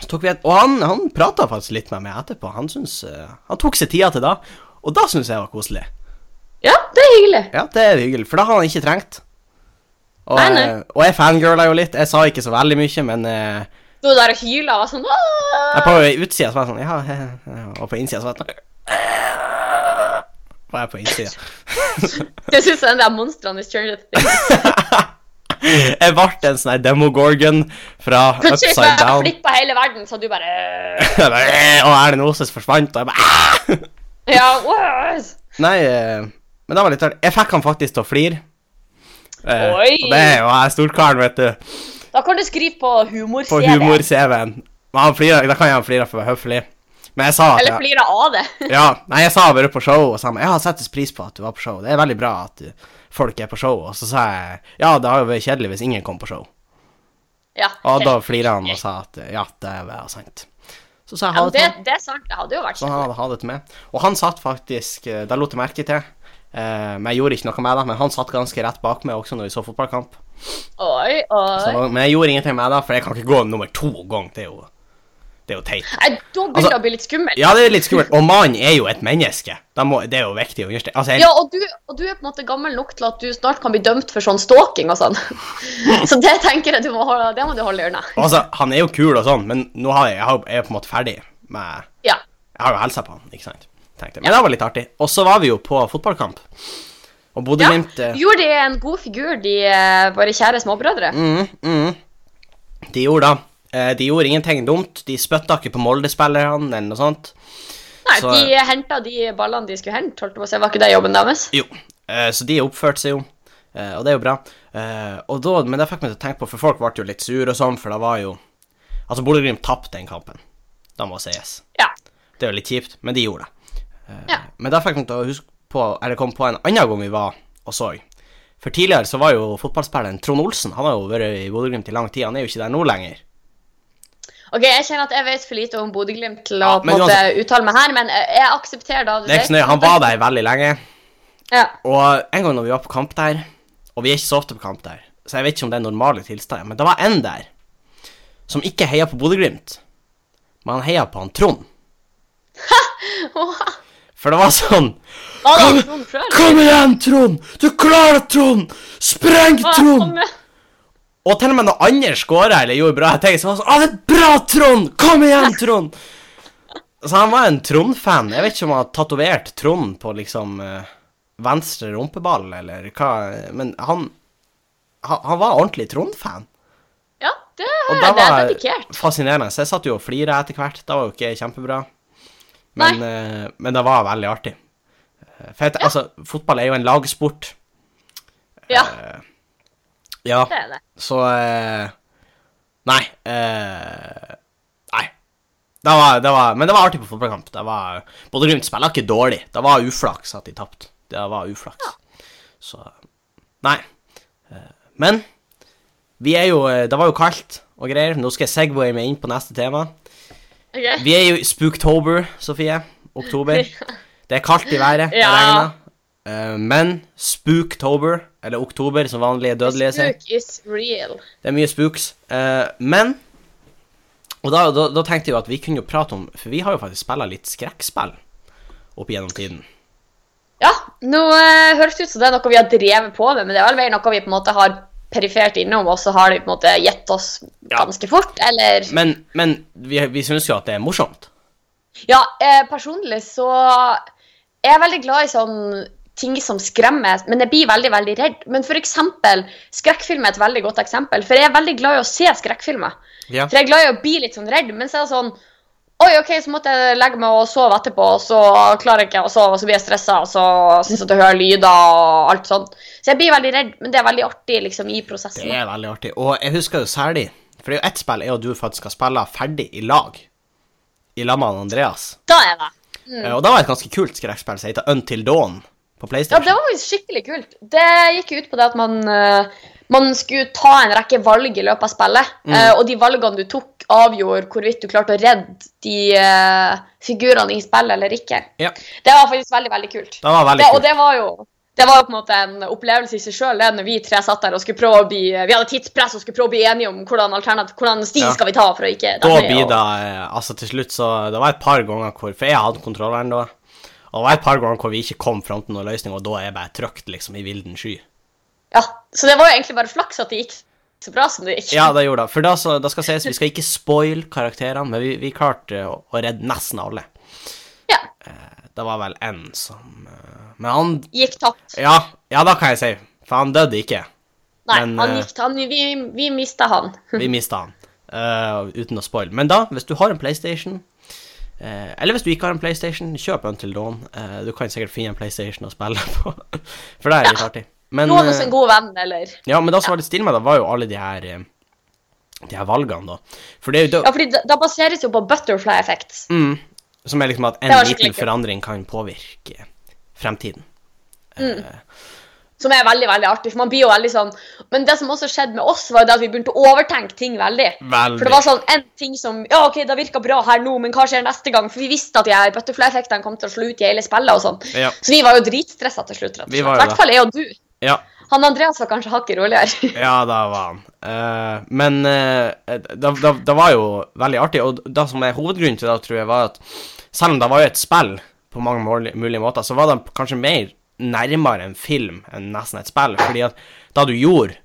[SPEAKER 1] Så tok vi et, og han, han prata faktisk litt med meg etterpå. Han, syns, øh, han tok seg tida til da, og da syns jeg var koselig.
[SPEAKER 2] Ja, det er hyggelig.
[SPEAKER 1] Ja, det er hyggelig, for da har han ikke trengt. Og,
[SPEAKER 2] Nei, nei.
[SPEAKER 1] eh, og jeg fangirla jo litt. Jeg sa ikke så veldig mye, men eh,
[SPEAKER 2] Du er der og hyler og sånn «Åh!»
[SPEAKER 1] jeg på utsida så var jeg sånn Ja, he- he- og på innsida så var jeg sånn Var jeg på innsida.
[SPEAKER 2] Jeg syns den der monstrene i Stranger Things
[SPEAKER 1] Jeg ble en sånn her demogorgon fra
[SPEAKER 2] Plutselig så
[SPEAKER 1] Upside
[SPEAKER 2] jeg
[SPEAKER 1] Down.
[SPEAKER 2] flippa hele verden, så du bare «Øh!»
[SPEAKER 1] Jeg bare, «Eh», Og Erlend Oses forsvant, og jeg bare «Ah!»
[SPEAKER 2] Ja, «Åh!»
[SPEAKER 1] Nei, eh, men det var litt rart. Jeg fikk han faktisk til å flire. Eh,
[SPEAKER 2] Oi.
[SPEAKER 1] Og det er jo jeg storkaren, vet du.
[SPEAKER 2] Da kan du skrive på humor
[SPEAKER 1] på humor-CV-en. Men han flirer, da kan jeg han flire for å være høflig. Men jeg sa at
[SPEAKER 2] Eller
[SPEAKER 1] jeg,
[SPEAKER 2] flira av det.
[SPEAKER 1] ja, nei, jeg sa bare på show, og sa han, ja, settes pris på at du var på show. Det er veldig bra at du- folk er på show. Og så sa jeg, ja, det har jo vært kjedelig hvis ingen kom på show.
[SPEAKER 2] Ja,
[SPEAKER 1] Og da
[SPEAKER 2] helt-
[SPEAKER 1] flirer han og sa at ja, det var sant. Så sa jeg
[SPEAKER 2] ja,
[SPEAKER 1] ha det
[SPEAKER 2] men
[SPEAKER 1] til
[SPEAKER 2] det,
[SPEAKER 1] han.
[SPEAKER 2] det er sant. Det hadde jo vært
[SPEAKER 1] Så han
[SPEAKER 2] kjekt.
[SPEAKER 1] hadde ha det til meg. Og han satt faktisk, eh, det lot jeg merke til, eh, men jeg gjorde ikke noe med det, men han satt ganske rett bak meg også når vi så fotballkamp.
[SPEAKER 2] Oi,
[SPEAKER 1] Så,
[SPEAKER 2] oi.
[SPEAKER 1] men jeg gjorde ingenting med det, for jeg kan ikke gå nummer to gang, det er jo, det er jo teit.
[SPEAKER 2] Nei, da begynner
[SPEAKER 1] Altså-
[SPEAKER 2] det å bli litt skummelt.
[SPEAKER 1] Ja, det er litt skummelt. Og mannen er jo et menneske. Da må, det er jo viktig å understreke. Altså, jeg,
[SPEAKER 2] Ja, og du, og du er på en måte gammel nok til at du snart kan bli dømt for sånn stalking og sånn. Så det tenker jeg du må holde, det må du holde i øynene.
[SPEAKER 1] altså, han er jo kul og sånn, men nå har jeg, jeg har- jeg er på en måte ferdig med
[SPEAKER 2] Ja.
[SPEAKER 1] Jeg har jo helsa på han, ikke sant? Tenkte. jeg. Men det var litt artig. Og så var vi jo på fotballkamp. Og
[SPEAKER 2] ja.
[SPEAKER 1] Bodø-Glimt eh,
[SPEAKER 2] Gjorde de en god figur, de eh, våre kjære småbrødre?
[SPEAKER 1] mm, mm, De gjorde da eh, De gjorde ingenting dumt. De spytta ikke på Molde-spillerne eller noe sånt.
[SPEAKER 2] Nei,
[SPEAKER 1] så-
[SPEAKER 2] de henta de ballene de skulle hente, holdt jeg på å si. Var ikke det jobben deres?
[SPEAKER 1] Jo. eh, Så de oppførte seg jo, eh, og det er jo bra. Eh, Og da, men det fikk meg til å tenke på, for folk ble jo litt sure og sånn, for det var jo Altså, Bodø-Glimt tapte den kampen. Da må sies.
[SPEAKER 2] Ja.
[SPEAKER 1] Det er jo litt kjipt, men de gjorde det. Eh,
[SPEAKER 2] Ja.
[SPEAKER 1] Men da fikk jeg til å huske på, eller komme på en annen gang vi var og så. For tidligere så var jo fotballspilleren Trond Olsen, han har jo vært i Bodø-Glimt i lang tid, han er jo ikke der nå lenger.
[SPEAKER 2] Ok, Jeg kjenner at jeg vet for lite om Bodø-Glimt til å
[SPEAKER 1] Ja,
[SPEAKER 2] på
[SPEAKER 1] men
[SPEAKER 2] en måte uttale meg her, men eh, jeg aksepterer da du
[SPEAKER 1] Det er ikke så nøye, han var der veldig lenge.
[SPEAKER 2] Ja.
[SPEAKER 1] Og en gang når vi var på kamp der, og vi er ikke så ofte på kamp der, så jeg vet ikke om det er normale tilstander, men det var en der som ikke heia på Bodø-Glimt, men han heia på han Trond. For det var sånn
[SPEAKER 2] Var det Trond sjøl?
[SPEAKER 1] Kom igjen, Trond! Du klarer det, Trond! Spreng, Trond! Og til og med når andre skåra eller gjorde bra ting, så var det sånn Å, det er bra, Trond! Kom igjen, Trond! Så han var en Trond-fan. Jeg vet ikke om han har tatovert Trond på liksom eh, venstre rumpeball, eller hva Men han Han, han var ordentlig Trond-fan.
[SPEAKER 2] Ja, det,
[SPEAKER 1] Og
[SPEAKER 2] det er
[SPEAKER 1] var
[SPEAKER 2] dedikert.
[SPEAKER 1] fascinerende. Så jeg satt jo og flira etter hvert. Det var jo ikke kjempebra. Men, eh, men det var veldig artig. Eh, For jeg, altså, fotball er jo en lagsport.
[SPEAKER 2] Ja,
[SPEAKER 1] Ja.
[SPEAKER 2] det er det.
[SPEAKER 1] Så eh, Nei. eh, nei. Det var, det var, men det var artig på fotballkamp. Det var, Bodø Glimt spiller ikke dårlig. Det var uflaks at de tapte. Det var uflaks. Så Nei. Eh, men vi er jo eh, Det var jo kaldt og greier. Nå skal jeg segwaye meg inn på neste tema.
[SPEAKER 2] Ok.
[SPEAKER 1] Vi er jo i spooktober, Sofie. Oktober. Det er kaldt i været. Det
[SPEAKER 2] Ja.
[SPEAKER 1] regner. Eh, men spooktober, eller oktober som vanlige dødelige sier
[SPEAKER 2] Spook is real.
[SPEAKER 1] det er mye spooks. Eh, men Og da, da, da tenkte jeg jo at vi kunne jo prate om For vi har jo faktisk spilla litt skrekkspill opp igjennom tiden.
[SPEAKER 2] Ja, nå eh, høres det ut som det er noe vi har drevet på med, men det er vel mer noe vi på en måte har perifert innom, og så har det på en måte gitt oss
[SPEAKER 1] Ja.
[SPEAKER 2] ganske fort, eller
[SPEAKER 1] Men, men vi, vi syns jo at det er morsomt.
[SPEAKER 2] Ja, eh, personlig så er jeg veldig glad i sånn ting som skremmer, men jeg blir veldig, veldig redd. Men for eksempel, skrekkfilm er et veldig godt eksempel, for jeg er veldig glad i å se skrekkfilmer.
[SPEAKER 1] Ja.
[SPEAKER 2] For jeg er glad i å bli litt sånn redd, men så er det sånn Oi, OK, så måtte jeg legge meg og sove etterpå, og så klarer jeg ikke å sove, og så blir jeg stressa, og så syns jeg at jeg hører lyder og alt sånt. Så jeg blir veldig redd, men det er veldig artig liksom i
[SPEAKER 1] Det
[SPEAKER 2] prosessen.
[SPEAKER 1] er veldig artig. Og jeg husker jo særlig For det er jo ett spill er jo at du faktisk skal spille ferdig i lag. I lag med han Andreas.
[SPEAKER 2] Da er det.
[SPEAKER 1] Eh, Og da var det et ganske kult skrekkspill som heter Until Dawn på
[SPEAKER 2] Mm. Ja,
[SPEAKER 1] PlayStation.
[SPEAKER 2] det var jo skikkelig kult. Det gikk jo ut på det at man, eh, man skulle ta en rekke valg i løpet av spillet.
[SPEAKER 1] Mm.
[SPEAKER 2] eh, og de valgene du tok, avgjorde hvorvidt du klarte å redde de eh, figurene i spillet eller ikke.
[SPEAKER 1] Ja,
[SPEAKER 2] Det var faktisk veldig, veldig kult.
[SPEAKER 1] det var veldig
[SPEAKER 2] Det, og
[SPEAKER 1] kult.
[SPEAKER 2] det var jo det var jo på en måte en opplevelse i seg sjøl når vi tre satt der og skulle prøve å bli Vi hadde tidspress og skulle prøve å bli enige om hvordan, alternativ, hvordan sti
[SPEAKER 1] Ja.
[SPEAKER 2] skal vi ta for å ikke
[SPEAKER 1] Da
[SPEAKER 2] dette
[SPEAKER 1] blir
[SPEAKER 2] og-
[SPEAKER 1] det eh, Altså, til slutt, så Det var et par ganger hvor For jeg hadde kontrolleren da. Og det var et par ganger hvor vi ikke kom fram til noen løsning, og da er jeg bare trykt liksom i vilden sky.
[SPEAKER 2] Ja, Så det var jo egentlig bare flaks at det gikk så bra som det gikk.
[SPEAKER 1] Ja, det gjorde det. For da, så, da skal sies, vi skal ikke spoil karakterene, men vi, vi klarte å, å redde nesten alle.
[SPEAKER 2] Ja,
[SPEAKER 1] Det var vel én som eh, Men han
[SPEAKER 2] Gikk tapt.
[SPEAKER 1] Ja, ja, da kan jeg si. For han døde ikke.
[SPEAKER 2] Nei,
[SPEAKER 1] Men,
[SPEAKER 2] han
[SPEAKER 1] eh,
[SPEAKER 2] gikk, han, vi, vi mista han.
[SPEAKER 1] Vi mista han. eh, uten å spoile. Men da, hvis du har en PlayStation eh, eller hvis du ikke har en PlayStation, kjøp Until Dawn. Eh, du kan sikkert finne en PlayStation å spille på. For det er litt artig. Men,
[SPEAKER 2] Lån oss
[SPEAKER 1] eh,
[SPEAKER 2] en god venn, eller
[SPEAKER 1] ja, men det som var litt stille med det, var jo alle de her, eh, de her valgene, da. For det er jo
[SPEAKER 2] Ja,
[SPEAKER 1] da,
[SPEAKER 2] fordi da, da baseres jo på butterfly effect.
[SPEAKER 1] mm, Som er liksom at en
[SPEAKER 2] Det var
[SPEAKER 1] liten
[SPEAKER 2] skikkelig kult.
[SPEAKER 1] forandring kan påvirke fremtiden.
[SPEAKER 2] Som er veldig veldig artig. for man blir jo veldig sånn... Men det som også skjedde med oss, var jo det at vi begynte å overtenke ting veldig.
[SPEAKER 1] Veldig.
[SPEAKER 2] For det var sånn en ting som Ja, OK, det virka bra her nå, men hva skjer neste gang? For vi visste at de her butterfly-effektene kom til å slå ut i hele spillet og sånn.
[SPEAKER 1] Ja.
[SPEAKER 2] Så vi var jo dritstressa til slutt, rett og
[SPEAKER 1] Vi
[SPEAKER 2] slett.
[SPEAKER 1] var jo
[SPEAKER 2] I
[SPEAKER 1] det.
[SPEAKER 2] hvert fall er jo du.
[SPEAKER 1] Ja.
[SPEAKER 2] Han Andreas var kanskje hakket roligere.
[SPEAKER 1] Ja, da var han. Eh, men eh, da, da, da var jo veldig artig, og det som er hovedgrunnen til det, tror jeg, var at selv om det var jo et spill på mange mål- mulige måter, så var det kanskje mer nærmere en film enn nesten et spill, fordi at det du gjorde,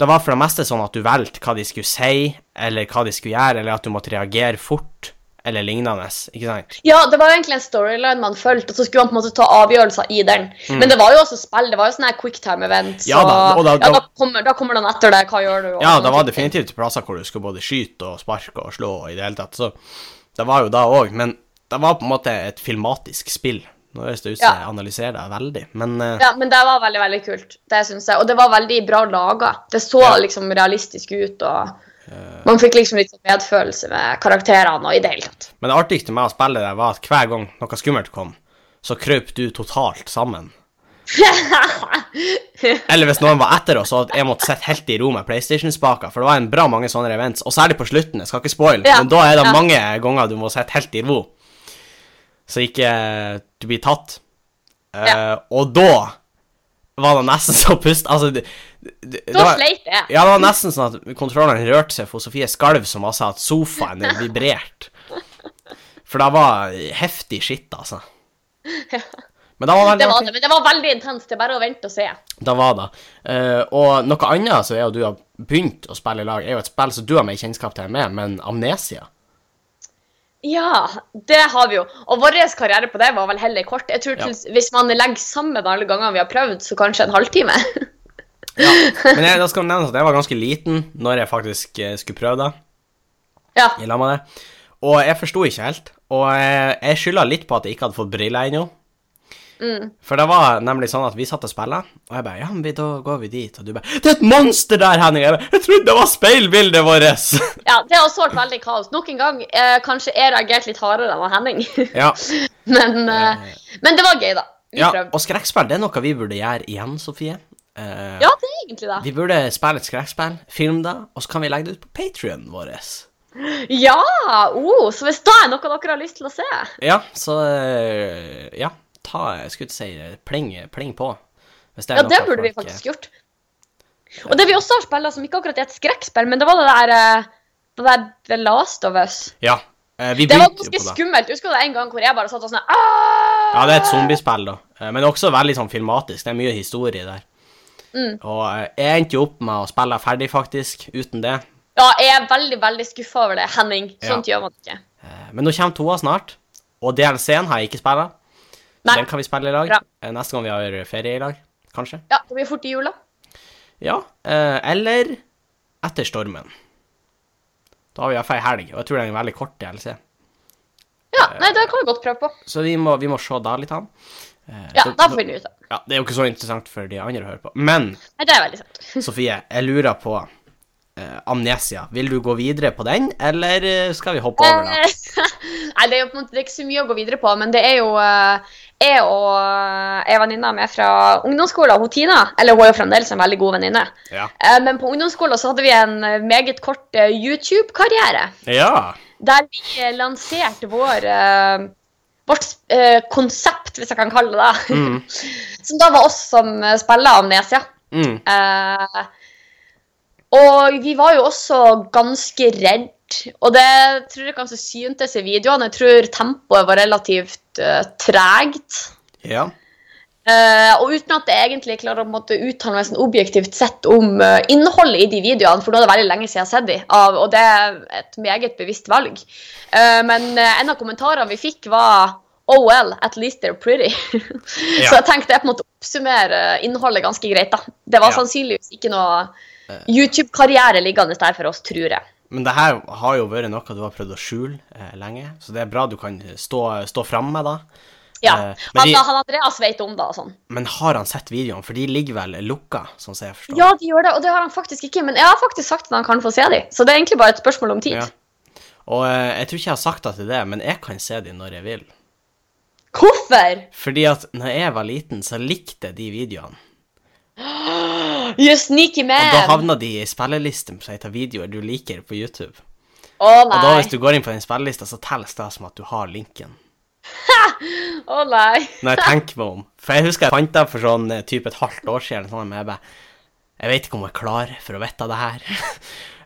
[SPEAKER 1] det var for det meste sånn at du valgte hva de skulle si, eller hva de skulle gjøre, eller at du måtte reagere fort, eller lignende, ikke sant?
[SPEAKER 2] Ja, det var jo egentlig en storyline man fulgte, og så skulle man på en måte ta avgjørelser i den. Men det var jo også spill, det var jo sånne her quicktime events.
[SPEAKER 1] Mm. Ja da, og
[SPEAKER 2] og
[SPEAKER 1] da-
[SPEAKER 2] da, ja, da,
[SPEAKER 1] da-
[SPEAKER 2] kommer, da kommer den etter deg, hva gjør du? og
[SPEAKER 1] Ja,
[SPEAKER 2] sånne
[SPEAKER 1] det var
[SPEAKER 2] type ting.
[SPEAKER 1] definitivt plasser hvor du skulle både skyte og sparke og slå og i det hele tatt, så det var jo da òg, men det var på en måte et filmatisk spill. Nå høres det ut som
[SPEAKER 2] Ja.
[SPEAKER 1] jeg analyserer det veldig, men eh,
[SPEAKER 2] Ja, men det var veldig, veldig kult, det synes jeg. Og det var veldig bra laga. Det så
[SPEAKER 1] Ja.
[SPEAKER 2] liksom realistisk ut, og man fikk liksom litt sånn medfølelse med karakterene og i det hele tatt.
[SPEAKER 1] Men det artigste med å spille det var at hver gang noe skummelt kom, så krøp du totalt sammen. Eller hvis noen var etter oss, så at jeg måtte sitte helt i ro med PlayStation-spaker, for det var en bra mange sånne events, og særlig på slutten, jeg skal ikke spoil,
[SPEAKER 2] Ja,
[SPEAKER 1] men da er det
[SPEAKER 2] ja.
[SPEAKER 1] mange ganger du må sitte helt i ro, så ikke eh, du blir tatt. Eh,
[SPEAKER 2] Ja.
[SPEAKER 1] Og da var det nesten så pust, altså... Det, det, det
[SPEAKER 2] Da
[SPEAKER 1] var-
[SPEAKER 2] sleit jeg.
[SPEAKER 1] Ja, det var nesten sånn at kontrolleren rørte seg, for Sofie skalv så masse at sofaen vibrerte. For det var heftig skitt, altså. Men det var veldig
[SPEAKER 2] Det
[SPEAKER 1] artig.
[SPEAKER 2] var det, men det var veldig intenst. Det er bare å vente og se.
[SPEAKER 1] Det var det. Eh, og noe annet som jeg og du har begynt å spille i lag, er jo et spill som du har mer kjennskap til enn meg, men Amnesia.
[SPEAKER 2] Ja, det har vi jo. Og vår karriere på det var vel heller kort. Jeg tror til, Hvis man legger sammen alle gangene vi har prøvd, så kanskje en halvtime.
[SPEAKER 1] Men jeg, da skal det nevnes at jeg var ganske liten når jeg faktisk eh, skulle prøve det.
[SPEAKER 2] ja.
[SPEAKER 1] i lag med det. Og jeg forsto ikke helt. Og jeg, jeg skylda litt på at jeg ikke hadde fått briller ennå.
[SPEAKER 2] Mm.
[SPEAKER 1] For det var nemlig sånn at vi satt og spilte, og jeg bare Ja, men vi- da går vi dit. Og du bare Det er et monster der, Henning! Jeg, bare, jeg trodde det var speilbildet vårt!
[SPEAKER 2] ja, det har også vært veldig kaos. Nok en gang, eh, kanskje jeg reagerte litt hardere enn han Henning.
[SPEAKER 1] ja.
[SPEAKER 2] men, eh, men det var gøy, da. Vi
[SPEAKER 1] ja.
[SPEAKER 2] prøvde.
[SPEAKER 1] Og skrekkspill, det er noe vi burde gjøre igjen, Sofie. Eh,
[SPEAKER 2] Ja, det er egentlig det.
[SPEAKER 1] Vi burde spille et skrekkspill, filme det, og så kan vi legge det ut på Patrionen vår.
[SPEAKER 2] Ja! Oh, så hvis da er noe dere har lyst til å se
[SPEAKER 1] Ja, så eh, Ja. Ta, jeg skulle ikke si eh, pling, pling på. Hvis er
[SPEAKER 2] Ja, det
[SPEAKER 1] noe
[SPEAKER 2] burde vi
[SPEAKER 1] folk, eh,
[SPEAKER 2] faktisk gjort. Og det vi også har spilt, som ikke akkurat er et skrekkspill, men det var det der, eh, det der The Last of Us.
[SPEAKER 1] Ja. eh, vi
[SPEAKER 2] Det var
[SPEAKER 1] begynte jo
[SPEAKER 2] ganske
[SPEAKER 1] på det.
[SPEAKER 2] skummelt. Husker du det en gang hvor jeg bare satt og sånn
[SPEAKER 1] Ja, det er et
[SPEAKER 2] «Ah!»
[SPEAKER 1] zombiespill, da. Eh, Men også veldig sånn filmatisk. Det er mye historie der.
[SPEAKER 2] Mm.
[SPEAKER 1] Og eh, jeg endte jo opp med å spille ferdig, faktisk, uten det.
[SPEAKER 2] Ja, jeg er veldig veldig skuffa over det, Henning. Sånt gjør man ikke.
[SPEAKER 1] Eh, Men nå kommer toa snart, og DLC-en har jeg ikke spilla.
[SPEAKER 2] Nei.
[SPEAKER 1] Den kan vi spille i lag.
[SPEAKER 2] Bra.
[SPEAKER 1] Eh, Neste gang vi har ferie i lag, kanskje.
[SPEAKER 2] Ja, Det blir fort i jula.
[SPEAKER 1] Ja, eh, eller Etter stormen. Da har vi iallfall ei helg, og jeg tror det er en veldig kort DLC.
[SPEAKER 2] Ja, nei, det kan vi godt prøve på.
[SPEAKER 1] Så vi må, vi må se da litt an. Eh,
[SPEAKER 2] Ja,
[SPEAKER 1] så-
[SPEAKER 2] Da får vi finne ut av det.
[SPEAKER 1] ja, Det er jo ikke så interessant for de andre å høre på. Men
[SPEAKER 2] Nei, Det er veldig sant.
[SPEAKER 1] Sofie, jeg lurer på eh, Amnesia. Vil du gå videre på den, eller eh, skal vi hoppe over, da?
[SPEAKER 2] Eh, Nei, det er jo på en måte det er ikke så mye å gå videre på, men det er jo eh, Jeg og eh, ei venninne av meg fra ungdomsskolen, hun Tina, eller hun er jo fremdeles en veldig god venninne,
[SPEAKER 1] Ja.
[SPEAKER 2] Eh, men på ungdomsskolen så hadde vi en eh, meget kort eh, YouTube-karriere,
[SPEAKER 1] ja.
[SPEAKER 2] der vi eh, lanserte vår eh, Vårt eh, konsept, hvis jeg kan kalle det det.
[SPEAKER 1] Mm.
[SPEAKER 2] Som da var oss som eh, spiller Amnesia.
[SPEAKER 1] Mm.
[SPEAKER 2] Eh, og vi var jo også ganske redd, og det tror jeg kanskje syntes i videoene. Jeg tror tempoet var relativt eh, tregt.
[SPEAKER 1] Ja.
[SPEAKER 2] Eh, og uten at jeg egentlig klarer å på en måte, uttale meg sånn objektivt sett om eh, innholdet i de videoene, for nå er det veldig lenge siden jeg har sett dem, og det er et meget bevisst valg. Eh, men eh, en av kommentarene vi fikk, var Oh well, at least they're pretty. Så
[SPEAKER 1] Ja.
[SPEAKER 2] jeg tenkte jeg på en måte oppsummerer eh, innholdet ganske greit. da. Det
[SPEAKER 1] Ja.
[SPEAKER 2] var
[SPEAKER 1] Eh.
[SPEAKER 2] sannsynligvis ikke noe YouTube-karriere liggende der for oss, tror jeg.
[SPEAKER 1] Men det her har jo vært noe du har prøvd å skjule eh, lenge, så det er bra du kan stå, stå fram med det.
[SPEAKER 2] Ja.
[SPEAKER 1] Eh, men
[SPEAKER 2] altså,
[SPEAKER 1] de-
[SPEAKER 2] han Andreas vet om det og sånn.
[SPEAKER 1] Men har han sett videoene? For de ligger vel lukka, sånn som jeg forstår.
[SPEAKER 2] Ja, de gjør det, og det har han faktisk ikke. Men jeg har faktisk sagt at han kan få se dem, så det er egentlig bare et spørsmål om tid.
[SPEAKER 1] Ja. Og eh, jeg tror ikke jeg har sagt det til det, men jeg kan se de når jeg vil.
[SPEAKER 2] Hvorfor?
[SPEAKER 1] Fordi at når jeg var liten, så likte jeg de videoene.
[SPEAKER 2] You sneaky
[SPEAKER 1] Og da
[SPEAKER 2] man!
[SPEAKER 1] havna de i spillelisten som heter videoer du liker på YouTube.
[SPEAKER 2] Å
[SPEAKER 1] Og da hvis
[SPEAKER 2] nei.
[SPEAKER 1] du går inn på den spillelista, så telles det som at du har linken.
[SPEAKER 2] Å nei.
[SPEAKER 1] Når jeg tenker meg om. For jeg husker jeg fant den for sånn eh, typ et halvt år siden, eller sånn, men jeg bare Jeg vet ikke om jeg er klar for å vite det her.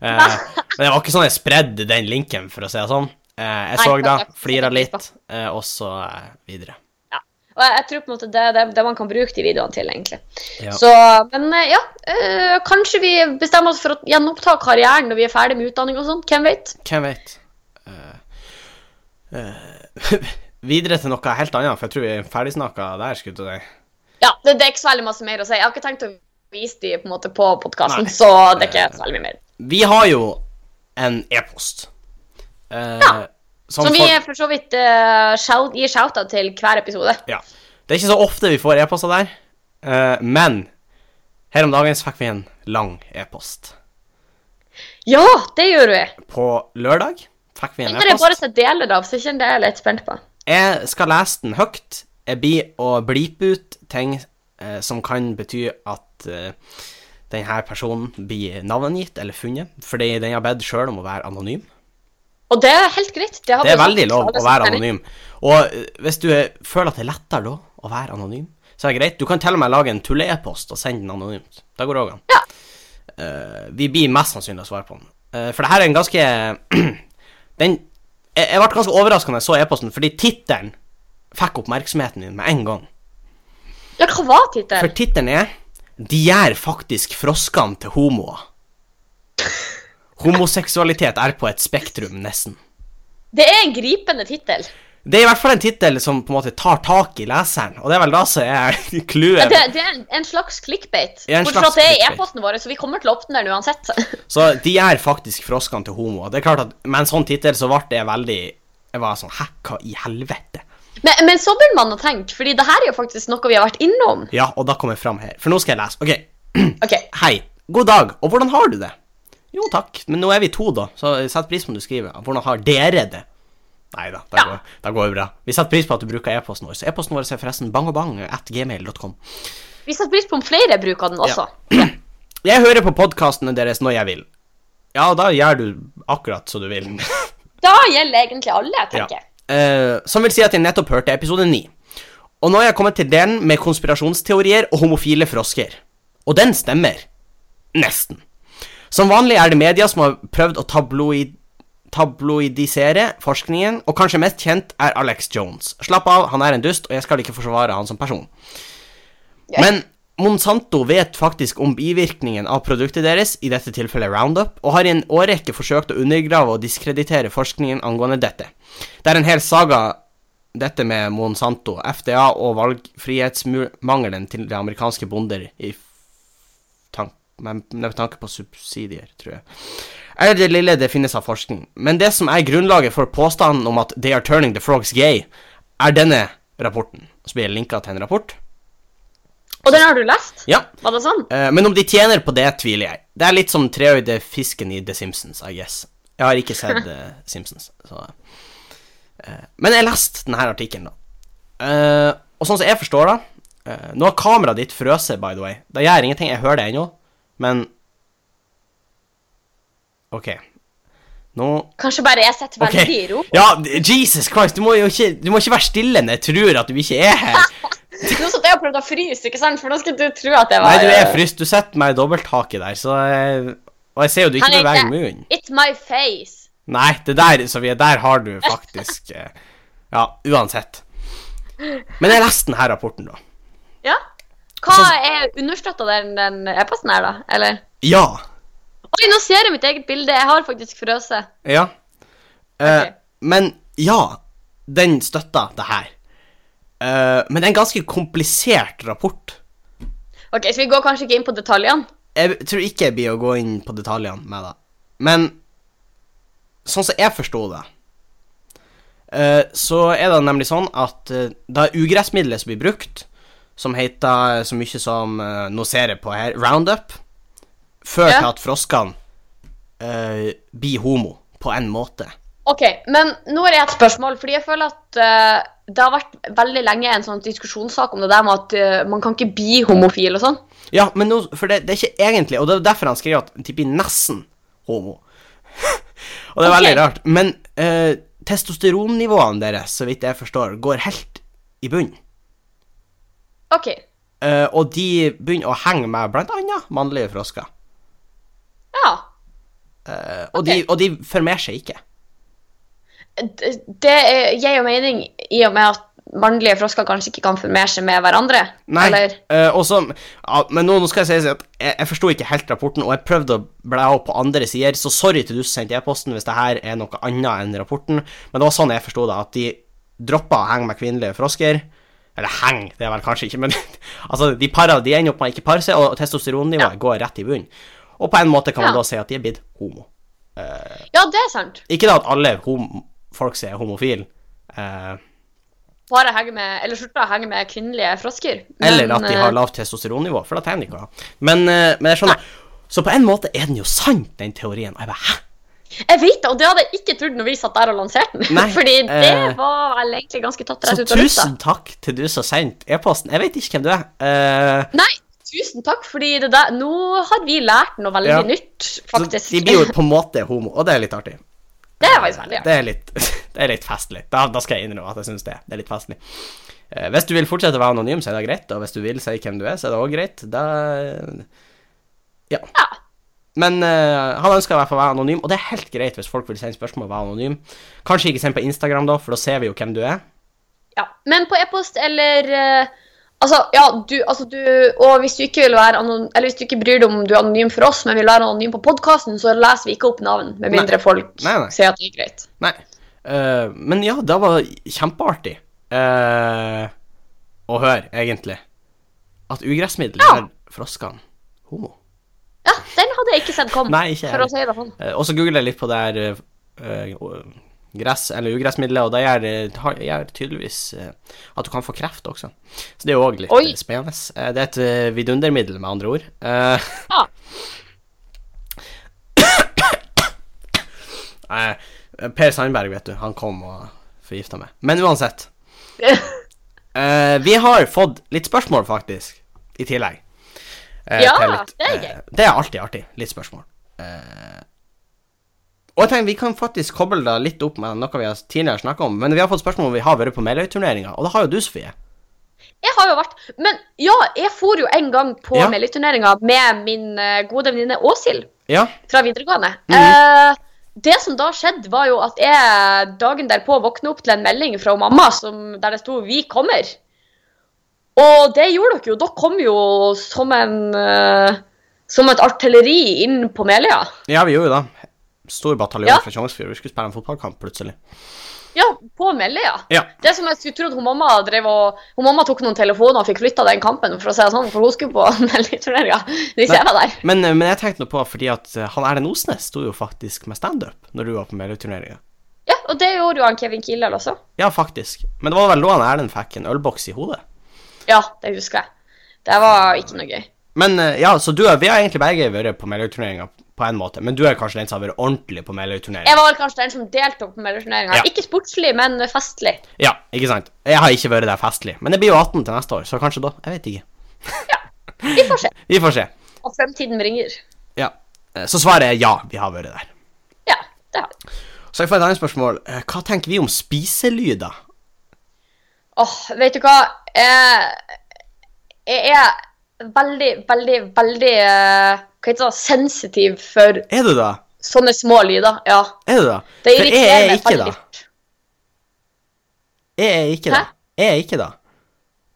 [SPEAKER 1] Eh, men det var ikke sånn jeg spredde den linken, for å si det sånn. Eh, jeg
[SPEAKER 2] Nei,
[SPEAKER 1] så
[SPEAKER 2] takk,
[SPEAKER 1] da,
[SPEAKER 2] takk.
[SPEAKER 1] flira
[SPEAKER 2] Setter pris
[SPEAKER 1] litt, eh, og så eh, videre.
[SPEAKER 2] Og jeg jeg tror på en måte det er det, det man kan bruke de videoene til, egentlig.
[SPEAKER 1] Ja.
[SPEAKER 2] Så, men eh, ja, eh, kanskje vi bestemmer oss for å gjenoppta karrieren når vi er ferdig med utdanning og sånn. Hvem vet?
[SPEAKER 1] Hvem vet? Eh, eh, videre til noe helt annet, for jeg tror vi er ferdigsnakka der. skulle du si.
[SPEAKER 2] Ja, det, det er ikke så veldig masse mer å si. Jeg har ikke tenkt å vise de på en måte på podkasten,
[SPEAKER 1] Nei. Eh, sånn
[SPEAKER 2] så det er ikke så veldig mye mer.
[SPEAKER 1] Vi har jo en e-post. eh, som
[SPEAKER 2] Som vi
[SPEAKER 1] folk-
[SPEAKER 2] for så vidt eh, shout, gir shouta til hver episode.
[SPEAKER 1] Ja. Det er ikke så ofte vi får e-poster der, eh, men her om dagen så fikk vi en lang e-post.
[SPEAKER 2] Ja, det gjør vi!
[SPEAKER 1] På lørdag fikk vi en
[SPEAKER 2] Den er det bare
[SPEAKER 1] e-post.
[SPEAKER 2] til deler av, så jeg kjenner det er jeg litt spent på.
[SPEAKER 1] Jeg skal lese den høyt. Jeg blir å blipe ut ting eh, som kan bety at eh, denne personen blir navngitt eller funnet, fordi den har bedt sjøl om å være anonym.
[SPEAKER 2] Og det er helt greit. Det, har
[SPEAKER 1] Det er
[SPEAKER 2] vi sagt
[SPEAKER 1] veldig
[SPEAKER 2] til
[SPEAKER 1] lov
[SPEAKER 2] alle
[SPEAKER 1] å
[SPEAKER 2] som
[SPEAKER 1] være
[SPEAKER 2] sender inn.
[SPEAKER 1] anonym. Og eh, hvis du eh, føler at det er lettere da å være anonym, så er det greit. Du kan til og med lage en tulle-e-post og sende den anonymt. Det går òg an.
[SPEAKER 2] Ja.
[SPEAKER 1] Eh, vi blir mest sannsynlig å svare på den. Eh, for det her er en ganske Den Jeg, jeg ble ganske overraska da jeg så e-posten, fordi tittelen fikk oppmerksomheten min med en gang.
[SPEAKER 2] Ja, hva var tittelen?
[SPEAKER 1] For tittelen er 'De gjør faktisk froskene til homoer'. Homoseksualitet er på et spektrum, nesten.
[SPEAKER 2] Det er en gripende tittel.
[SPEAKER 1] Det er i hvert fall en tittel som på en måte tar tak i leseren, og det er vel da som er
[SPEAKER 2] Ja,
[SPEAKER 1] clouet.
[SPEAKER 2] det, det er en, en slags clickbait.
[SPEAKER 1] Ja, en
[SPEAKER 2] Bortsett
[SPEAKER 1] slags
[SPEAKER 2] fra at det er i
[SPEAKER 1] clickbait.
[SPEAKER 2] e-posten vår, så vi kommer til å åpne den uansett.
[SPEAKER 1] Så de er faktisk froskene til homoer. Det er klart at Med en sånn tittel så ble det veldig Jeg var sånn Hæ, hva i helvete?
[SPEAKER 2] Men, men så burde man ha tenkt, fordi det her er jo faktisk noe vi har vært innom.
[SPEAKER 1] Ja, og da kom jeg fram her. For nå skal jeg lese. OK.
[SPEAKER 2] Ok,
[SPEAKER 1] Hei. God dag. Og hvordan har du det? Jo, takk. Men nå er vi to, da, så sett pris på om du skriver. Hvordan har dere det? Nei da, det
[SPEAKER 2] Ja.
[SPEAKER 1] går- det går jo bra. Vi setter pris på at du bruker e-posten vår. Så e-posten vår er forresten bangogbang.gmail.com.
[SPEAKER 2] Vi setter pris på om flere bruker den også.
[SPEAKER 1] Jeg hører på podkastene deres når jeg vil. Ja, da gjør du akkurat som du vil.
[SPEAKER 2] Da gjelder egentlig alle,
[SPEAKER 1] ja.
[SPEAKER 2] tenker jeg.
[SPEAKER 1] Eh, som vil si at jeg nettopp hørte episode 9. Og nå har jeg kommet til delen med konspirasjonsteorier og homofile frosker. Og den stemmer. Nesten. Som vanlig er det media som har prøvd å tabloid... tabloidisere forskningen, og kanskje mest kjent er Alex Jones. Slapp av, han er en dust, og jeg skal ikke forsvare han som person.
[SPEAKER 2] Ja.
[SPEAKER 1] Men Monsanto vet faktisk om bivirkningen av produktet deres, i dette tilfellet Roundup, og har i en årrekke forsøkt å undergrave og diskreditere forskningen angående dette. Det er en hel saga, dette med Monsanto, FDA og valgfrihetsmangelen til de amerikanske bonder i tank, med, med tanke på subsidier, tror jeg er det lille det finnes av forskning. Men det som er grunnlaget for påstanden om at they are turning the frogs gay, er denne rapporten. Så blir jeg linka til en rapport.
[SPEAKER 2] Og den har du lest?
[SPEAKER 1] Ja.
[SPEAKER 2] Var det sånn?
[SPEAKER 1] eh, Men om de tjener på det, tviler jeg. Det er litt som treøyde fisken i The Simpsons, I guess. Jeg har ikke sett eh, Simpsons, så eh, Men jeg leste denne artikkelen, da. Eh, og sånn som jeg forstår det eh, Nå har kameraet ditt frøset, by the way. Det gjør ingenting, jeg hører det ennå, men OK. Nå
[SPEAKER 2] Kanskje bare jeg setter
[SPEAKER 1] Ok.
[SPEAKER 2] veldig i ro.
[SPEAKER 1] Ja, Jesus Christ, du må jo ikke, du må ikke være stille når jeg tror at du ikke er her.
[SPEAKER 2] Nå satt jeg og prøvde å fryse, ikke sant? For nå skulle du tro at jeg var
[SPEAKER 1] Nei, du er fryst. Du setter meg i dobbelttaket der, så jeg, Og jeg ser jo du ikke
[SPEAKER 2] Henrik,
[SPEAKER 1] beveger
[SPEAKER 2] det-
[SPEAKER 1] munnen.
[SPEAKER 2] It's my face.
[SPEAKER 1] Nei, det der, så vi er der har du faktisk eh, Ja, uansett. Men jeg leste denne rapporten, da.
[SPEAKER 2] Ja. Hva
[SPEAKER 1] Altså,
[SPEAKER 2] er understøtta den, den e-posten her, da? Eller?
[SPEAKER 1] Ja.
[SPEAKER 2] Oi, nå ser jeg mitt eget bilde. Jeg har faktisk frøset.
[SPEAKER 1] Ja. Eh,
[SPEAKER 2] Ok.
[SPEAKER 1] Men ja, den støtter det her. Eh, men det er en ganske komplisert rapport.
[SPEAKER 2] Ok, så vi går kanskje ikke inn på detaljene?
[SPEAKER 1] Jeg tror ikke jeg blir å gå inn på detaljene med det. Men sånn som jeg forsto det, eh, så er det nemlig sånn at eh, det er ugressmiddelet som blir brukt, som heter så mye som eh, Nå ser jeg på her Roundup, før
[SPEAKER 2] Ja.
[SPEAKER 1] til at froskene eh, blir homo, på en måte.
[SPEAKER 2] Ok, men nå har jeg et spørsmål, fordi jeg føler at eh, det har vært veldig lenge en sånn diskusjonssak om det der med at eh, man kan ikke bli homofil og sånn.
[SPEAKER 1] Ja, men nå, for det, det er ikke egentlig Og det er derfor han skriver at de blir nesten homo. og det er
[SPEAKER 2] Ok.
[SPEAKER 1] veldig rart. Men eh, testosteronnivåene deres, så vidt jeg forstår, går helt i bunnen.
[SPEAKER 2] Ok,
[SPEAKER 1] Eh, og de begynner å henge med blant annet mannlige frosker.
[SPEAKER 2] ja.
[SPEAKER 1] Eh, og, de,
[SPEAKER 2] Ok.
[SPEAKER 1] og de formerer seg ikke.
[SPEAKER 2] D- Det eh, gir jo mening i og med at mannlige frosker kanskje ikke kan formere seg med hverandre.
[SPEAKER 1] Nei,
[SPEAKER 2] Eller,
[SPEAKER 1] eh, og så- ja, Men nå, nå skal jeg si at jeg, jeg forsto ikke helt rapporten, og jeg prøvde å bla opp på andre sider, så sorry til du som sendte e-posten hvis det her er noe annet enn rapporten, men det var sånn jeg forsto det, at de droppa å henge med kvinnelige frosker. Eller heng, det er vel kanskje ikke, men altså, de parer, de ender opp med å ikke pare seg, og testosteronnivået går rett i bunnen. Og på en måte kan man
[SPEAKER 2] Ja.
[SPEAKER 1] da si at de er blitt homo.
[SPEAKER 2] ja, det er sant.
[SPEAKER 1] Ikke da at alle hom folk som er homofile, eh,
[SPEAKER 2] Bare henge med, eller slutta å henge med kvinnelige frosker.
[SPEAKER 1] Eller
[SPEAKER 2] Men,
[SPEAKER 1] at de
[SPEAKER 2] eh,
[SPEAKER 1] har lavt testosteronnivå, for da tjener de ikke. da. Men, eh, men jeg skjønner. Så på en måte er den jo sann, den teorien. Og jeg bare, hæ?
[SPEAKER 2] Jeg vet det, og det hadde jeg ikke trodd når vi satt der og lanserte den.
[SPEAKER 1] Nei,
[SPEAKER 2] Fordi det
[SPEAKER 1] eh,
[SPEAKER 2] var vel egentlig ganske tatt
[SPEAKER 1] Så
[SPEAKER 2] rett ut av lufta.
[SPEAKER 1] tusen takk til du som sendte e-posten. Jeg vet ikke hvem du er. Eh,
[SPEAKER 2] Nei, tusen takk, fordi det der, nå har vi lært noe veldig
[SPEAKER 1] Ja.
[SPEAKER 2] nytt,
[SPEAKER 1] så
[SPEAKER 2] faktisk.
[SPEAKER 1] de blir jo på en måte homo, og det er litt artig.
[SPEAKER 2] Det er faktisk veldig, ja.
[SPEAKER 1] Det er litt, det er litt festlig. Da, da skal jeg innrømme at jeg syns det. Det er litt festlig. Eh, hvis du vil fortsette å være anonym, så er det greit. Og hvis du vil si hvem du er, så er det òg greit. Da Ja.
[SPEAKER 2] Ja.
[SPEAKER 1] Men eh, han ønsker i hvert fall å være anonym, og det er helt greit hvis folk vil sende spørsmål og være anonym. Kanskje ikke send på Instagram, da, for da ser vi jo hvem du er.
[SPEAKER 2] ja. Men på e-post eller eh, Altså, ja, du, altså du, og hvis du ikke vil være anon, eller hvis du ikke bryr deg om du er anonym for oss, men vil være anonym på podkasten, så leser vi ikke opp navn, med mindre folk
[SPEAKER 1] Nei, nei.
[SPEAKER 2] sier at det er greit.
[SPEAKER 1] Nei. Eh, men ja, det var kjempeartig eh, å høre, egentlig, at ugressmiddel
[SPEAKER 2] Ja.
[SPEAKER 1] gjør froskene homo.
[SPEAKER 2] Ja, den hadde jeg ikke sett komme,
[SPEAKER 1] Nei, ikke jeg
[SPEAKER 2] for å si det sånn.
[SPEAKER 1] Eh, og så googler jeg litt på det her eh, eh, gress, eller ugressmiddelet, og det gjør, det har- gjør tydeligvis eh, at du kan få kreft også. Så det er jo òg litt
[SPEAKER 2] Oi.
[SPEAKER 1] eh, spennende. Eh, det er et eh, vidundermiddel, med andre ord. Eh,
[SPEAKER 2] Ja.
[SPEAKER 1] Nei, eh, Per Sandberg, vet du, han kom og forgifta meg. Men uansett. eh, vi har fått litt spørsmål, faktisk, i tillegg. Eh,
[SPEAKER 2] Ja,
[SPEAKER 1] til
[SPEAKER 2] det er
[SPEAKER 1] eh, det er alltid artig. Litt spørsmål. Eh, og jeg tenker Vi kan faktisk koble det litt opp med noe vi har tidligere snakka om. Men vi har fått spørsmål om vi har vært på Meløy-turneringa, og det har jo du, Sofie.
[SPEAKER 2] Jeg har jo vært Men ja, jeg for jo en gang på
[SPEAKER 1] Ja.
[SPEAKER 2] ja. med min eh, gode venninne Åshild.
[SPEAKER 1] Ja,
[SPEAKER 2] fra videregående.
[SPEAKER 1] Mhm.
[SPEAKER 2] Eh, det som da skjedde, var jo at jeg dagen derpå våkna opp til en melding fra mamma som, der det sto 'Vi kommer'. Og det gjorde dere jo. Dere kom jo som en eh, Som et artilleri inn på Meløya.
[SPEAKER 1] Ja, vi gjorde jo det. Stor bataljon
[SPEAKER 2] Ja.
[SPEAKER 1] fra Tjongsfjord. Vi skulle spille en fotballkamp plutselig.
[SPEAKER 2] Ja, på Meløya.
[SPEAKER 1] Ja.
[SPEAKER 2] Det som jeg skulle tro at hun mamma drev og Hun mamma tok noen telefoner og fikk flytta den kampen, for å si det sånn, for hun skulle på Meløyturneringa hvis jeg var der.
[SPEAKER 1] Men, eh, men jeg tenkte nå på, fordi at eh, han Erlend Osnes sto jo faktisk med standup når du var på Meløyturneringa.
[SPEAKER 2] Ja, og det gjorde jo han Kevin Kildahl også.
[SPEAKER 1] Ja, faktisk. Men det var vel da han Erlend fikk en ølboks i hodet.
[SPEAKER 2] Ja, det husker jeg. Det var ikke noe gøy.
[SPEAKER 1] Men eh, ja, så du er, vi har egentlig begge vært på Meløyturneringa på en måte, men du er kanskje den som har vært ordentlig på Meløyturneringa.
[SPEAKER 2] Jeg var vel kanskje den som deltok på Meløyturneringa.
[SPEAKER 1] Ja.
[SPEAKER 2] Ikke sportslig, men festlig.
[SPEAKER 1] Ja, ikke sant? Jeg har ikke vært der festlig, men jeg blir jo 18 til neste år, så kanskje da. Jeg vet ikke.
[SPEAKER 2] Vi får se
[SPEAKER 1] Vi får se.
[SPEAKER 2] hva fremtiden bringer.
[SPEAKER 1] Ja. Eh, Så svaret er ja, vi har vært der.
[SPEAKER 2] Ja, det har vi.
[SPEAKER 1] Så jeg får et annet spørsmål. Eh, Hva tenker vi om spiselyder?
[SPEAKER 2] Åh, vet du hva? Jeg, jeg er veldig, veldig, veldig eh, Hva heter det? Sensitiv for
[SPEAKER 1] Er du det?
[SPEAKER 2] sånne små lyder. Ja.
[SPEAKER 1] Er du det? For
[SPEAKER 2] Det
[SPEAKER 1] jeg
[SPEAKER 2] irriterer
[SPEAKER 1] er
[SPEAKER 2] meg
[SPEAKER 1] ikke
[SPEAKER 2] veldig.
[SPEAKER 1] det. Jeg er ikke det.
[SPEAKER 2] Hæ?
[SPEAKER 1] Jeg er ikke det.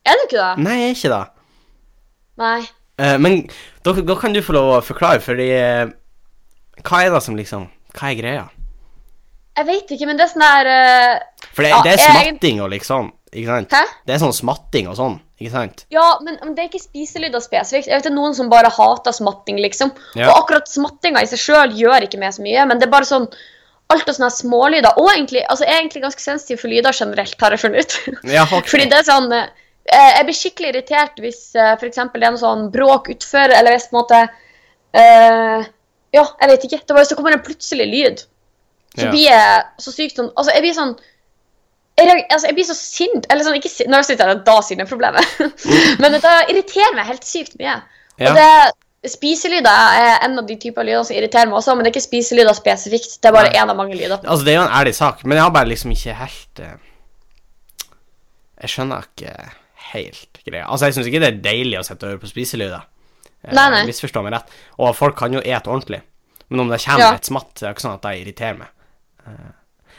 [SPEAKER 2] Er du ikke det?
[SPEAKER 1] Nei, jeg er ikke det.
[SPEAKER 2] Nei.
[SPEAKER 1] Eh, Men da, da kan du få lov å forklare, fordi eh, Hva er det som liksom Hva er greia?
[SPEAKER 2] Jeg vet ikke, men det er sånn der eh,
[SPEAKER 1] For det,
[SPEAKER 2] Ja,
[SPEAKER 1] det er
[SPEAKER 2] jeg-
[SPEAKER 1] smatting og liksom, ikke sant?
[SPEAKER 2] Hæ?
[SPEAKER 1] Det er sånn smatting og sånn, ikke sant?
[SPEAKER 2] Ja, men, men det er ikke spiselyder spesifikt. Jeg vet det er noen som bare hater smatting, liksom.
[SPEAKER 1] Ja.
[SPEAKER 2] Og akkurat smattinga i seg sjøl gjør ikke meg så mye, men det er bare sånn Alt av sånne her smålyder. Og egentlig, altså, jeg er egentlig ganske sensitiv for lyder generelt, har jeg funnet ut.
[SPEAKER 1] Ja, ok.
[SPEAKER 2] Fordi det er sånn eh, Jeg blir skikkelig irritert hvis eh, for eksempel det er noe sånn bråk utfor, eller hvis på en måte eh, Ja, jeg vet ikke. Det var, så kommer det en plutselig lyd.
[SPEAKER 1] Ja.
[SPEAKER 2] Så blir jeg så sykt sånn Altså, jeg blir sånn jeg, reag- altså, jeg blir så sint Eller sånn, ikke sint Når jeg sitter her, da sier jeg problemet. Men det irriterer meg helt sykt mye.
[SPEAKER 1] Ja.
[SPEAKER 2] Og det Spiselyder er en av de typer lyder som irriterer meg også, men det er ikke spiselyder spesifikt. Det er bare
[SPEAKER 1] Nei.
[SPEAKER 2] én av mange lyder.
[SPEAKER 1] Altså, det er jo en ærlig sak, men jeg har bare liksom ikke helt eh, Jeg skjønner ikke helt greia. Altså, jeg syns ikke det er deilig å sitte og høre på spiselyder. Eh,
[SPEAKER 2] Nei, nei.
[SPEAKER 1] Misforstå meg rett. Og folk kan jo ete ordentlig. Men om det kommer
[SPEAKER 2] Ja.
[SPEAKER 1] et smatt, så er det ikke sånn at det irriterer meg. Eh,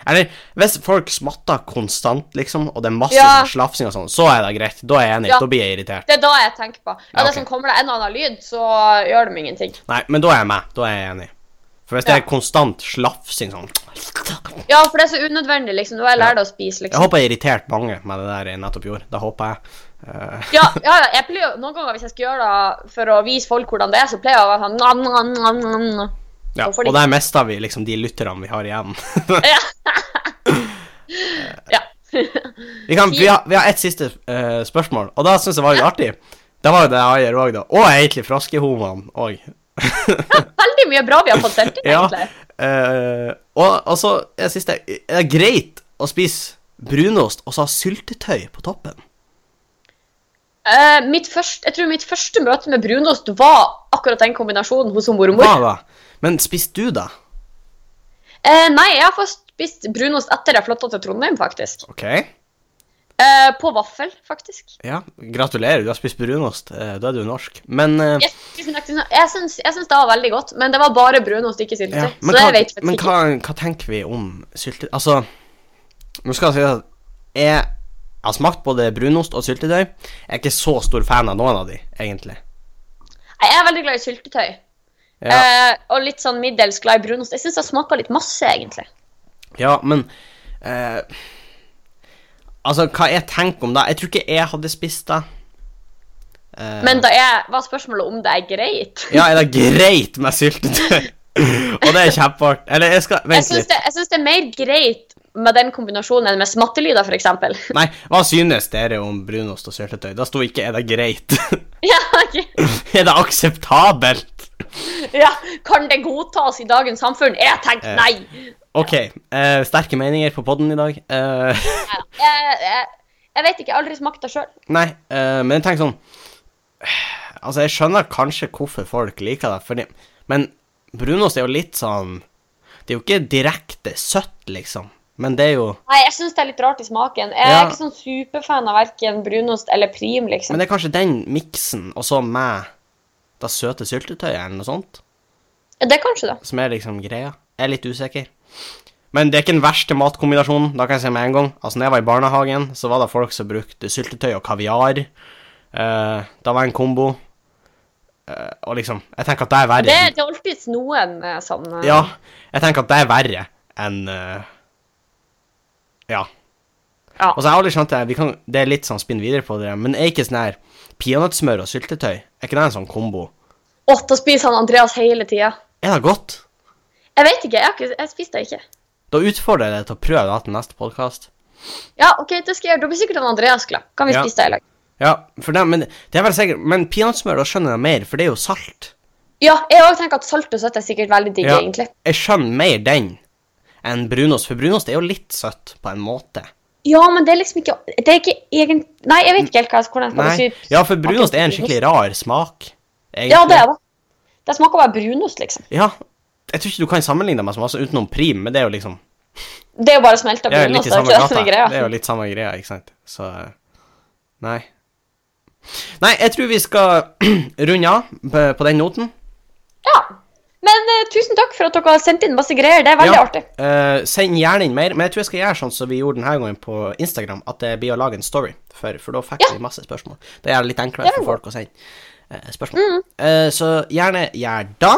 [SPEAKER 1] Eller hvis folk smatter konstant, liksom, og det er masse
[SPEAKER 2] Ja.
[SPEAKER 1] sånn slafsing og sånn, så er det greit. Da er jeg enig.
[SPEAKER 2] Ja.
[SPEAKER 1] Da blir jeg irritert.
[SPEAKER 2] Det er da jeg tenker på. Ja,
[SPEAKER 1] Ja, ok.
[SPEAKER 2] det som Kommer det en og annen lyd, så gjør det meg ingenting.
[SPEAKER 1] Nei, men da er jeg med. Da er jeg enig. For hvis det
[SPEAKER 2] Ja.
[SPEAKER 1] er konstant slafsing sånn Jeg
[SPEAKER 2] Ja, for det er så unødvendig, liksom. Nå har jeg lært å spise, liksom.
[SPEAKER 1] håper jeg irriterte mange med det der jeg nettopp gjorde. Det håper jeg. Eh,
[SPEAKER 2] Ja, ja, ja, jeg pleier jo, Noen ganger hvis jeg skal gjøre det for å vise folk hvordan det er, så pleier jeg å være sånn nam, nam, nam, nam, nam.
[SPEAKER 1] Ja,
[SPEAKER 2] Så får de-
[SPEAKER 1] og der mista vi liksom de lytterne vi har igjen.
[SPEAKER 2] Ja. ja.
[SPEAKER 1] vi, kan, vi, har, vi har ett siste eh, spørsmål, og da syns jeg var litt artig. Det var jo det Ayer òg, da. Og egentlig froskehomoene òg.
[SPEAKER 2] Veldig mye bra vi har fått til,
[SPEAKER 1] Ja.
[SPEAKER 2] egentlig.
[SPEAKER 1] eh, og, og så det siste. Er det greit å spise brunost og så ha syltetøy på toppen?
[SPEAKER 2] Eh, mitt først, jeg tror mitt første møte med brunost var akkurat den kombinasjonen hos hun mormor.
[SPEAKER 1] Hva da? Men spiste du det?
[SPEAKER 2] Eh, nei, jeg har først spist brunost etter jeg flytta til Trondheim, faktisk.
[SPEAKER 1] OK.
[SPEAKER 2] Eh, på vaffel, faktisk.
[SPEAKER 1] Ja, gratulerer, du har spist brunost. eh, da er du norsk. Men eh,
[SPEAKER 2] Yes, tusen takk, tusen takk. Jeg syns, jeg syns det var veldig godt, men det var bare brunost, ikke
[SPEAKER 1] Ja,
[SPEAKER 2] syltetøy.
[SPEAKER 1] men,
[SPEAKER 2] så
[SPEAKER 1] hva,
[SPEAKER 2] jeg vet faktisk
[SPEAKER 1] men
[SPEAKER 2] ikke.
[SPEAKER 1] hva, hva tenker vi om syltetøy? Altså, nå skal jeg si at jeg har smakt både brunost og syltetøy. Jeg er ikke så stor fan av noen av de, egentlig.
[SPEAKER 2] Nei, Jeg er veldig glad i syltetøy.
[SPEAKER 1] Ja,
[SPEAKER 2] Eh, og litt sånn middels glad i brunost. Jeg syns det smaker litt masse, egentlig.
[SPEAKER 1] ja men eh, Altså, hva jeg tenker om det Jeg tror ikke jeg hadde spist det. Eh,
[SPEAKER 2] Men da er, var spørsmålet om det er greit.
[SPEAKER 1] Ja, er det greit med syltetøy? og det er kjempeart. Eller, jeg skal
[SPEAKER 2] Jeg
[SPEAKER 1] Vent
[SPEAKER 2] syns
[SPEAKER 1] litt.
[SPEAKER 2] det, jeg syns det er mer greit med den kombinasjonen enn med smattelyder, f.eks.
[SPEAKER 1] Nei, hva synes dere om brunost og syltetøy? Da sto ikke 'er det greit'.
[SPEAKER 2] ja, ok.
[SPEAKER 1] er det akseptabelt?
[SPEAKER 2] ja, kan det godtas i dagens samfunn? Jeg tenker nei.
[SPEAKER 1] Ok, eh, sterke meninger på podden i dag. Eh,
[SPEAKER 2] Jeg, jeg, jeg vet ikke, jeg har aldri smakt det sjøl.
[SPEAKER 1] nei, eh, men tenk sånn Altså, jeg skjønner kanskje hvorfor folk liker det, fordi, men brunost er jo litt sånn Det er jo ikke direkte søtt, liksom, men det er jo
[SPEAKER 2] Nei, jeg syns det er litt rart i smaken. Jeg
[SPEAKER 1] Ja.
[SPEAKER 2] er ikke sånn superfan av verken brunost eller prim, liksom.
[SPEAKER 1] Men det er kanskje den miksen, og så med det søte syltetøyet eller noe sånt,
[SPEAKER 2] Ja, det er kanskje det.
[SPEAKER 1] som er liksom greia. Jeg er litt usikker. Men det er ikke den verste matkombinasjonen. Da kan jeg si med en gang. Altså, når jeg var i barnehagen, så var det folk som brukte syltetøy og kaviar. Eh, da var det en kombo. Eh, og liksom Jeg tenker at det er verre.
[SPEAKER 2] Det, det er alltids noen eh, sånn eh,
[SPEAKER 1] Ja, jeg tenker at det er verre enn eh, Ja.
[SPEAKER 2] Ja.
[SPEAKER 1] Og så har jeg aldri skjønt det. Vi kan, det er litt sånn spinn videre på det, men er ikke sånn her peanøttsmør og syltetøy Er ikke det en sånn kombo?
[SPEAKER 2] Å, da spiser han Andreas hele tida.
[SPEAKER 1] Er det godt?
[SPEAKER 2] Jeg vet ikke. Jeg, har ikke, jeg spiste det ikke.
[SPEAKER 1] Da utfordrer jeg deg til å prøve det til neste podkast.
[SPEAKER 2] Ja, ok, det skal jeg gjøre. Da blir sikkert han Andreas glad. Kan vi
[SPEAKER 1] Ja.
[SPEAKER 2] spise det i lag?
[SPEAKER 1] Ja, for det, men det er vel sikkert Men peanøttsmør, da skjønner jeg mer, for det er jo salt.
[SPEAKER 2] Ja, jeg også tenker at salt og søtt er sikkert veldig digg,
[SPEAKER 1] Ja.
[SPEAKER 2] egentlig.
[SPEAKER 1] Jeg skjønner mer den enn brunost, for brunost er jo litt søtt, på en måte.
[SPEAKER 2] Ja, men det er liksom ikke Det er ikke egen... Nei, jeg vet ikke helt hva jeg- hvordan jeg skal
[SPEAKER 1] Nei.
[SPEAKER 2] si
[SPEAKER 1] Ja, for brunost er en skikkelig rar smak.
[SPEAKER 2] Ja, det er det. Det smaker bare brunost, liksom.
[SPEAKER 1] Ja, jeg tror ikke du kan sammenligne det med så masse utenom prim, men det er jo liksom
[SPEAKER 2] Det er jo bare smelta
[SPEAKER 1] Det er jo litt
[SPEAKER 2] brunost.
[SPEAKER 1] i
[SPEAKER 2] Det er
[SPEAKER 1] samme
[SPEAKER 2] ikke det som
[SPEAKER 1] gata.
[SPEAKER 2] er greia.
[SPEAKER 1] Det er jo litt samme greia, ikke sant. Så eh, Nei. Nei, jeg tror vi skal runde av på på den noten.
[SPEAKER 2] Ja. Men eh, tusen takk for at dere har sendt inn masse greier. Det er veldig artig.
[SPEAKER 1] eh, send gjerne inn mer, men jeg tror jeg skal gjøre sånn som vi gjorde denne gangen på Instagram, at det blir å lage en story, for, for da fikk vi masse spørsmål. Det gjør det litt enklere
[SPEAKER 2] Det er
[SPEAKER 1] for folk å sende eh, spørsmål. Eh, så gjerne gjør da.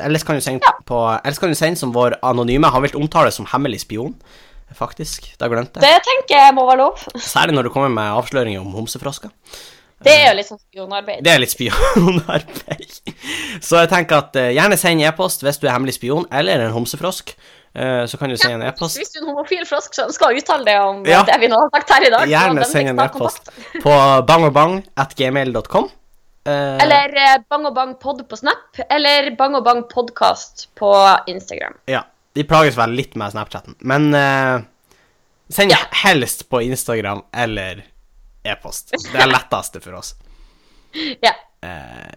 [SPEAKER 1] Ellers kan du sende, på, ellers kan du sende som vår anonyme. Han vil omtale som hemmelig spion, faktisk. Da glemte jeg.
[SPEAKER 2] Det tenker jeg må være lov.
[SPEAKER 1] Særlig når du kommer med avsløringer om homsefrosker.
[SPEAKER 2] Det er jo litt sånn spionarbeid.
[SPEAKER 1] Det er litt spionarbeid. Så jeg tenker at eh, gjerne send e-post hvis du er hemmelig spion eller en homsefrosk. Eh, så kan du sende en e-post.
[SPEAKER 2] Hvis du er en homofil frosk som skal uttale det om eh,
[SPEAKER 1] Ja.
[SPEAKER 2] det vi nå har sagt her i dag, så
[SPEAKER 1] Gjerne
[SPEAKER 2] den
[SPEAKER 1] send en
[SPEAKER 2] teksten har kontakt.
[SPEAKER 1] e-post på bangogbang.gmail.com. Eh,
[SPEAKER 2] Eller eh, Bang og Bang Pod på Snap, eller Bang og Bang Podcast på Instagram.
[SPEAKER 1] Ja. De plages vel litt med Snapchatten, men eh, send helst på Instagram eller e-post. Det er letteste for oss.
[SPEAKER 2] Ja.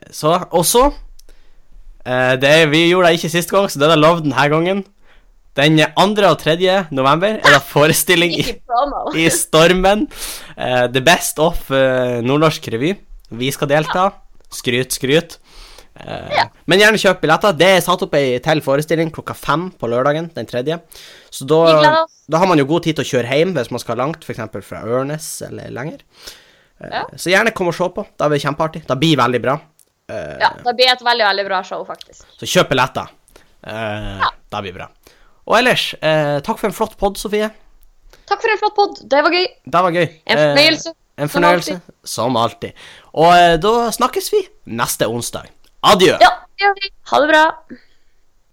[SPEAKER 1] Så, og så eh, det, er- Vi gjorde det ikke sist gang, så det er det lov denne gangen. Den 2. og 3. november er det forestilling i,
[SPEAKER 2] Ikke promo.
[SPEAKER 1] i Stormen. Eh, the Best of eh, Nordnorsk revy. Vi skal delta. Skryt, skryt. Eh,
[SPEAKER 2] Ja.
[SPEAKER 1] Men gjerne kjøp billetter. Det er satt opp ei til forestilling klokka fem på lørdagen. den tredje. Så
[SPEAKER 2] Vi gleder
[SPEAKER 1] da,
[SPEAKER 2] oss.
[SPEAKER 1] da har man jo god tid til å kjøre hjem hvis man skal langt, f.eks. fra Ørnes eller lenger. Eh,
[SPEAKER 2] Ja.
[SPEAKER 1] Så gjerne kom og se på. Da blir det kjempeartig. Da blir det veldig bra.
[SPEAKER 2] Ja, det blir et veldig, veldig bra show, faktisk.
[SPEAKER 1] Så kjøp billetter. Eh, Det blir bra. Og ellers, eh, takk for en flott pod, Sofie.
[SPEAKER 2] Takk for en flott pod. Det var gøy.
[SPEAKER 1] Det var gøy.
[SPEAKER 2] En fornøyelse.
[SPEAKER 1] Eh, en
[SPEAKER 2] Som
[SPEAKER 1] fornøyelse. Som alltid. Og eh, da snakkes vi neste onsdag. Adjø.
[SPEAKER 2] Ja, det gjør vi. Ha det bra.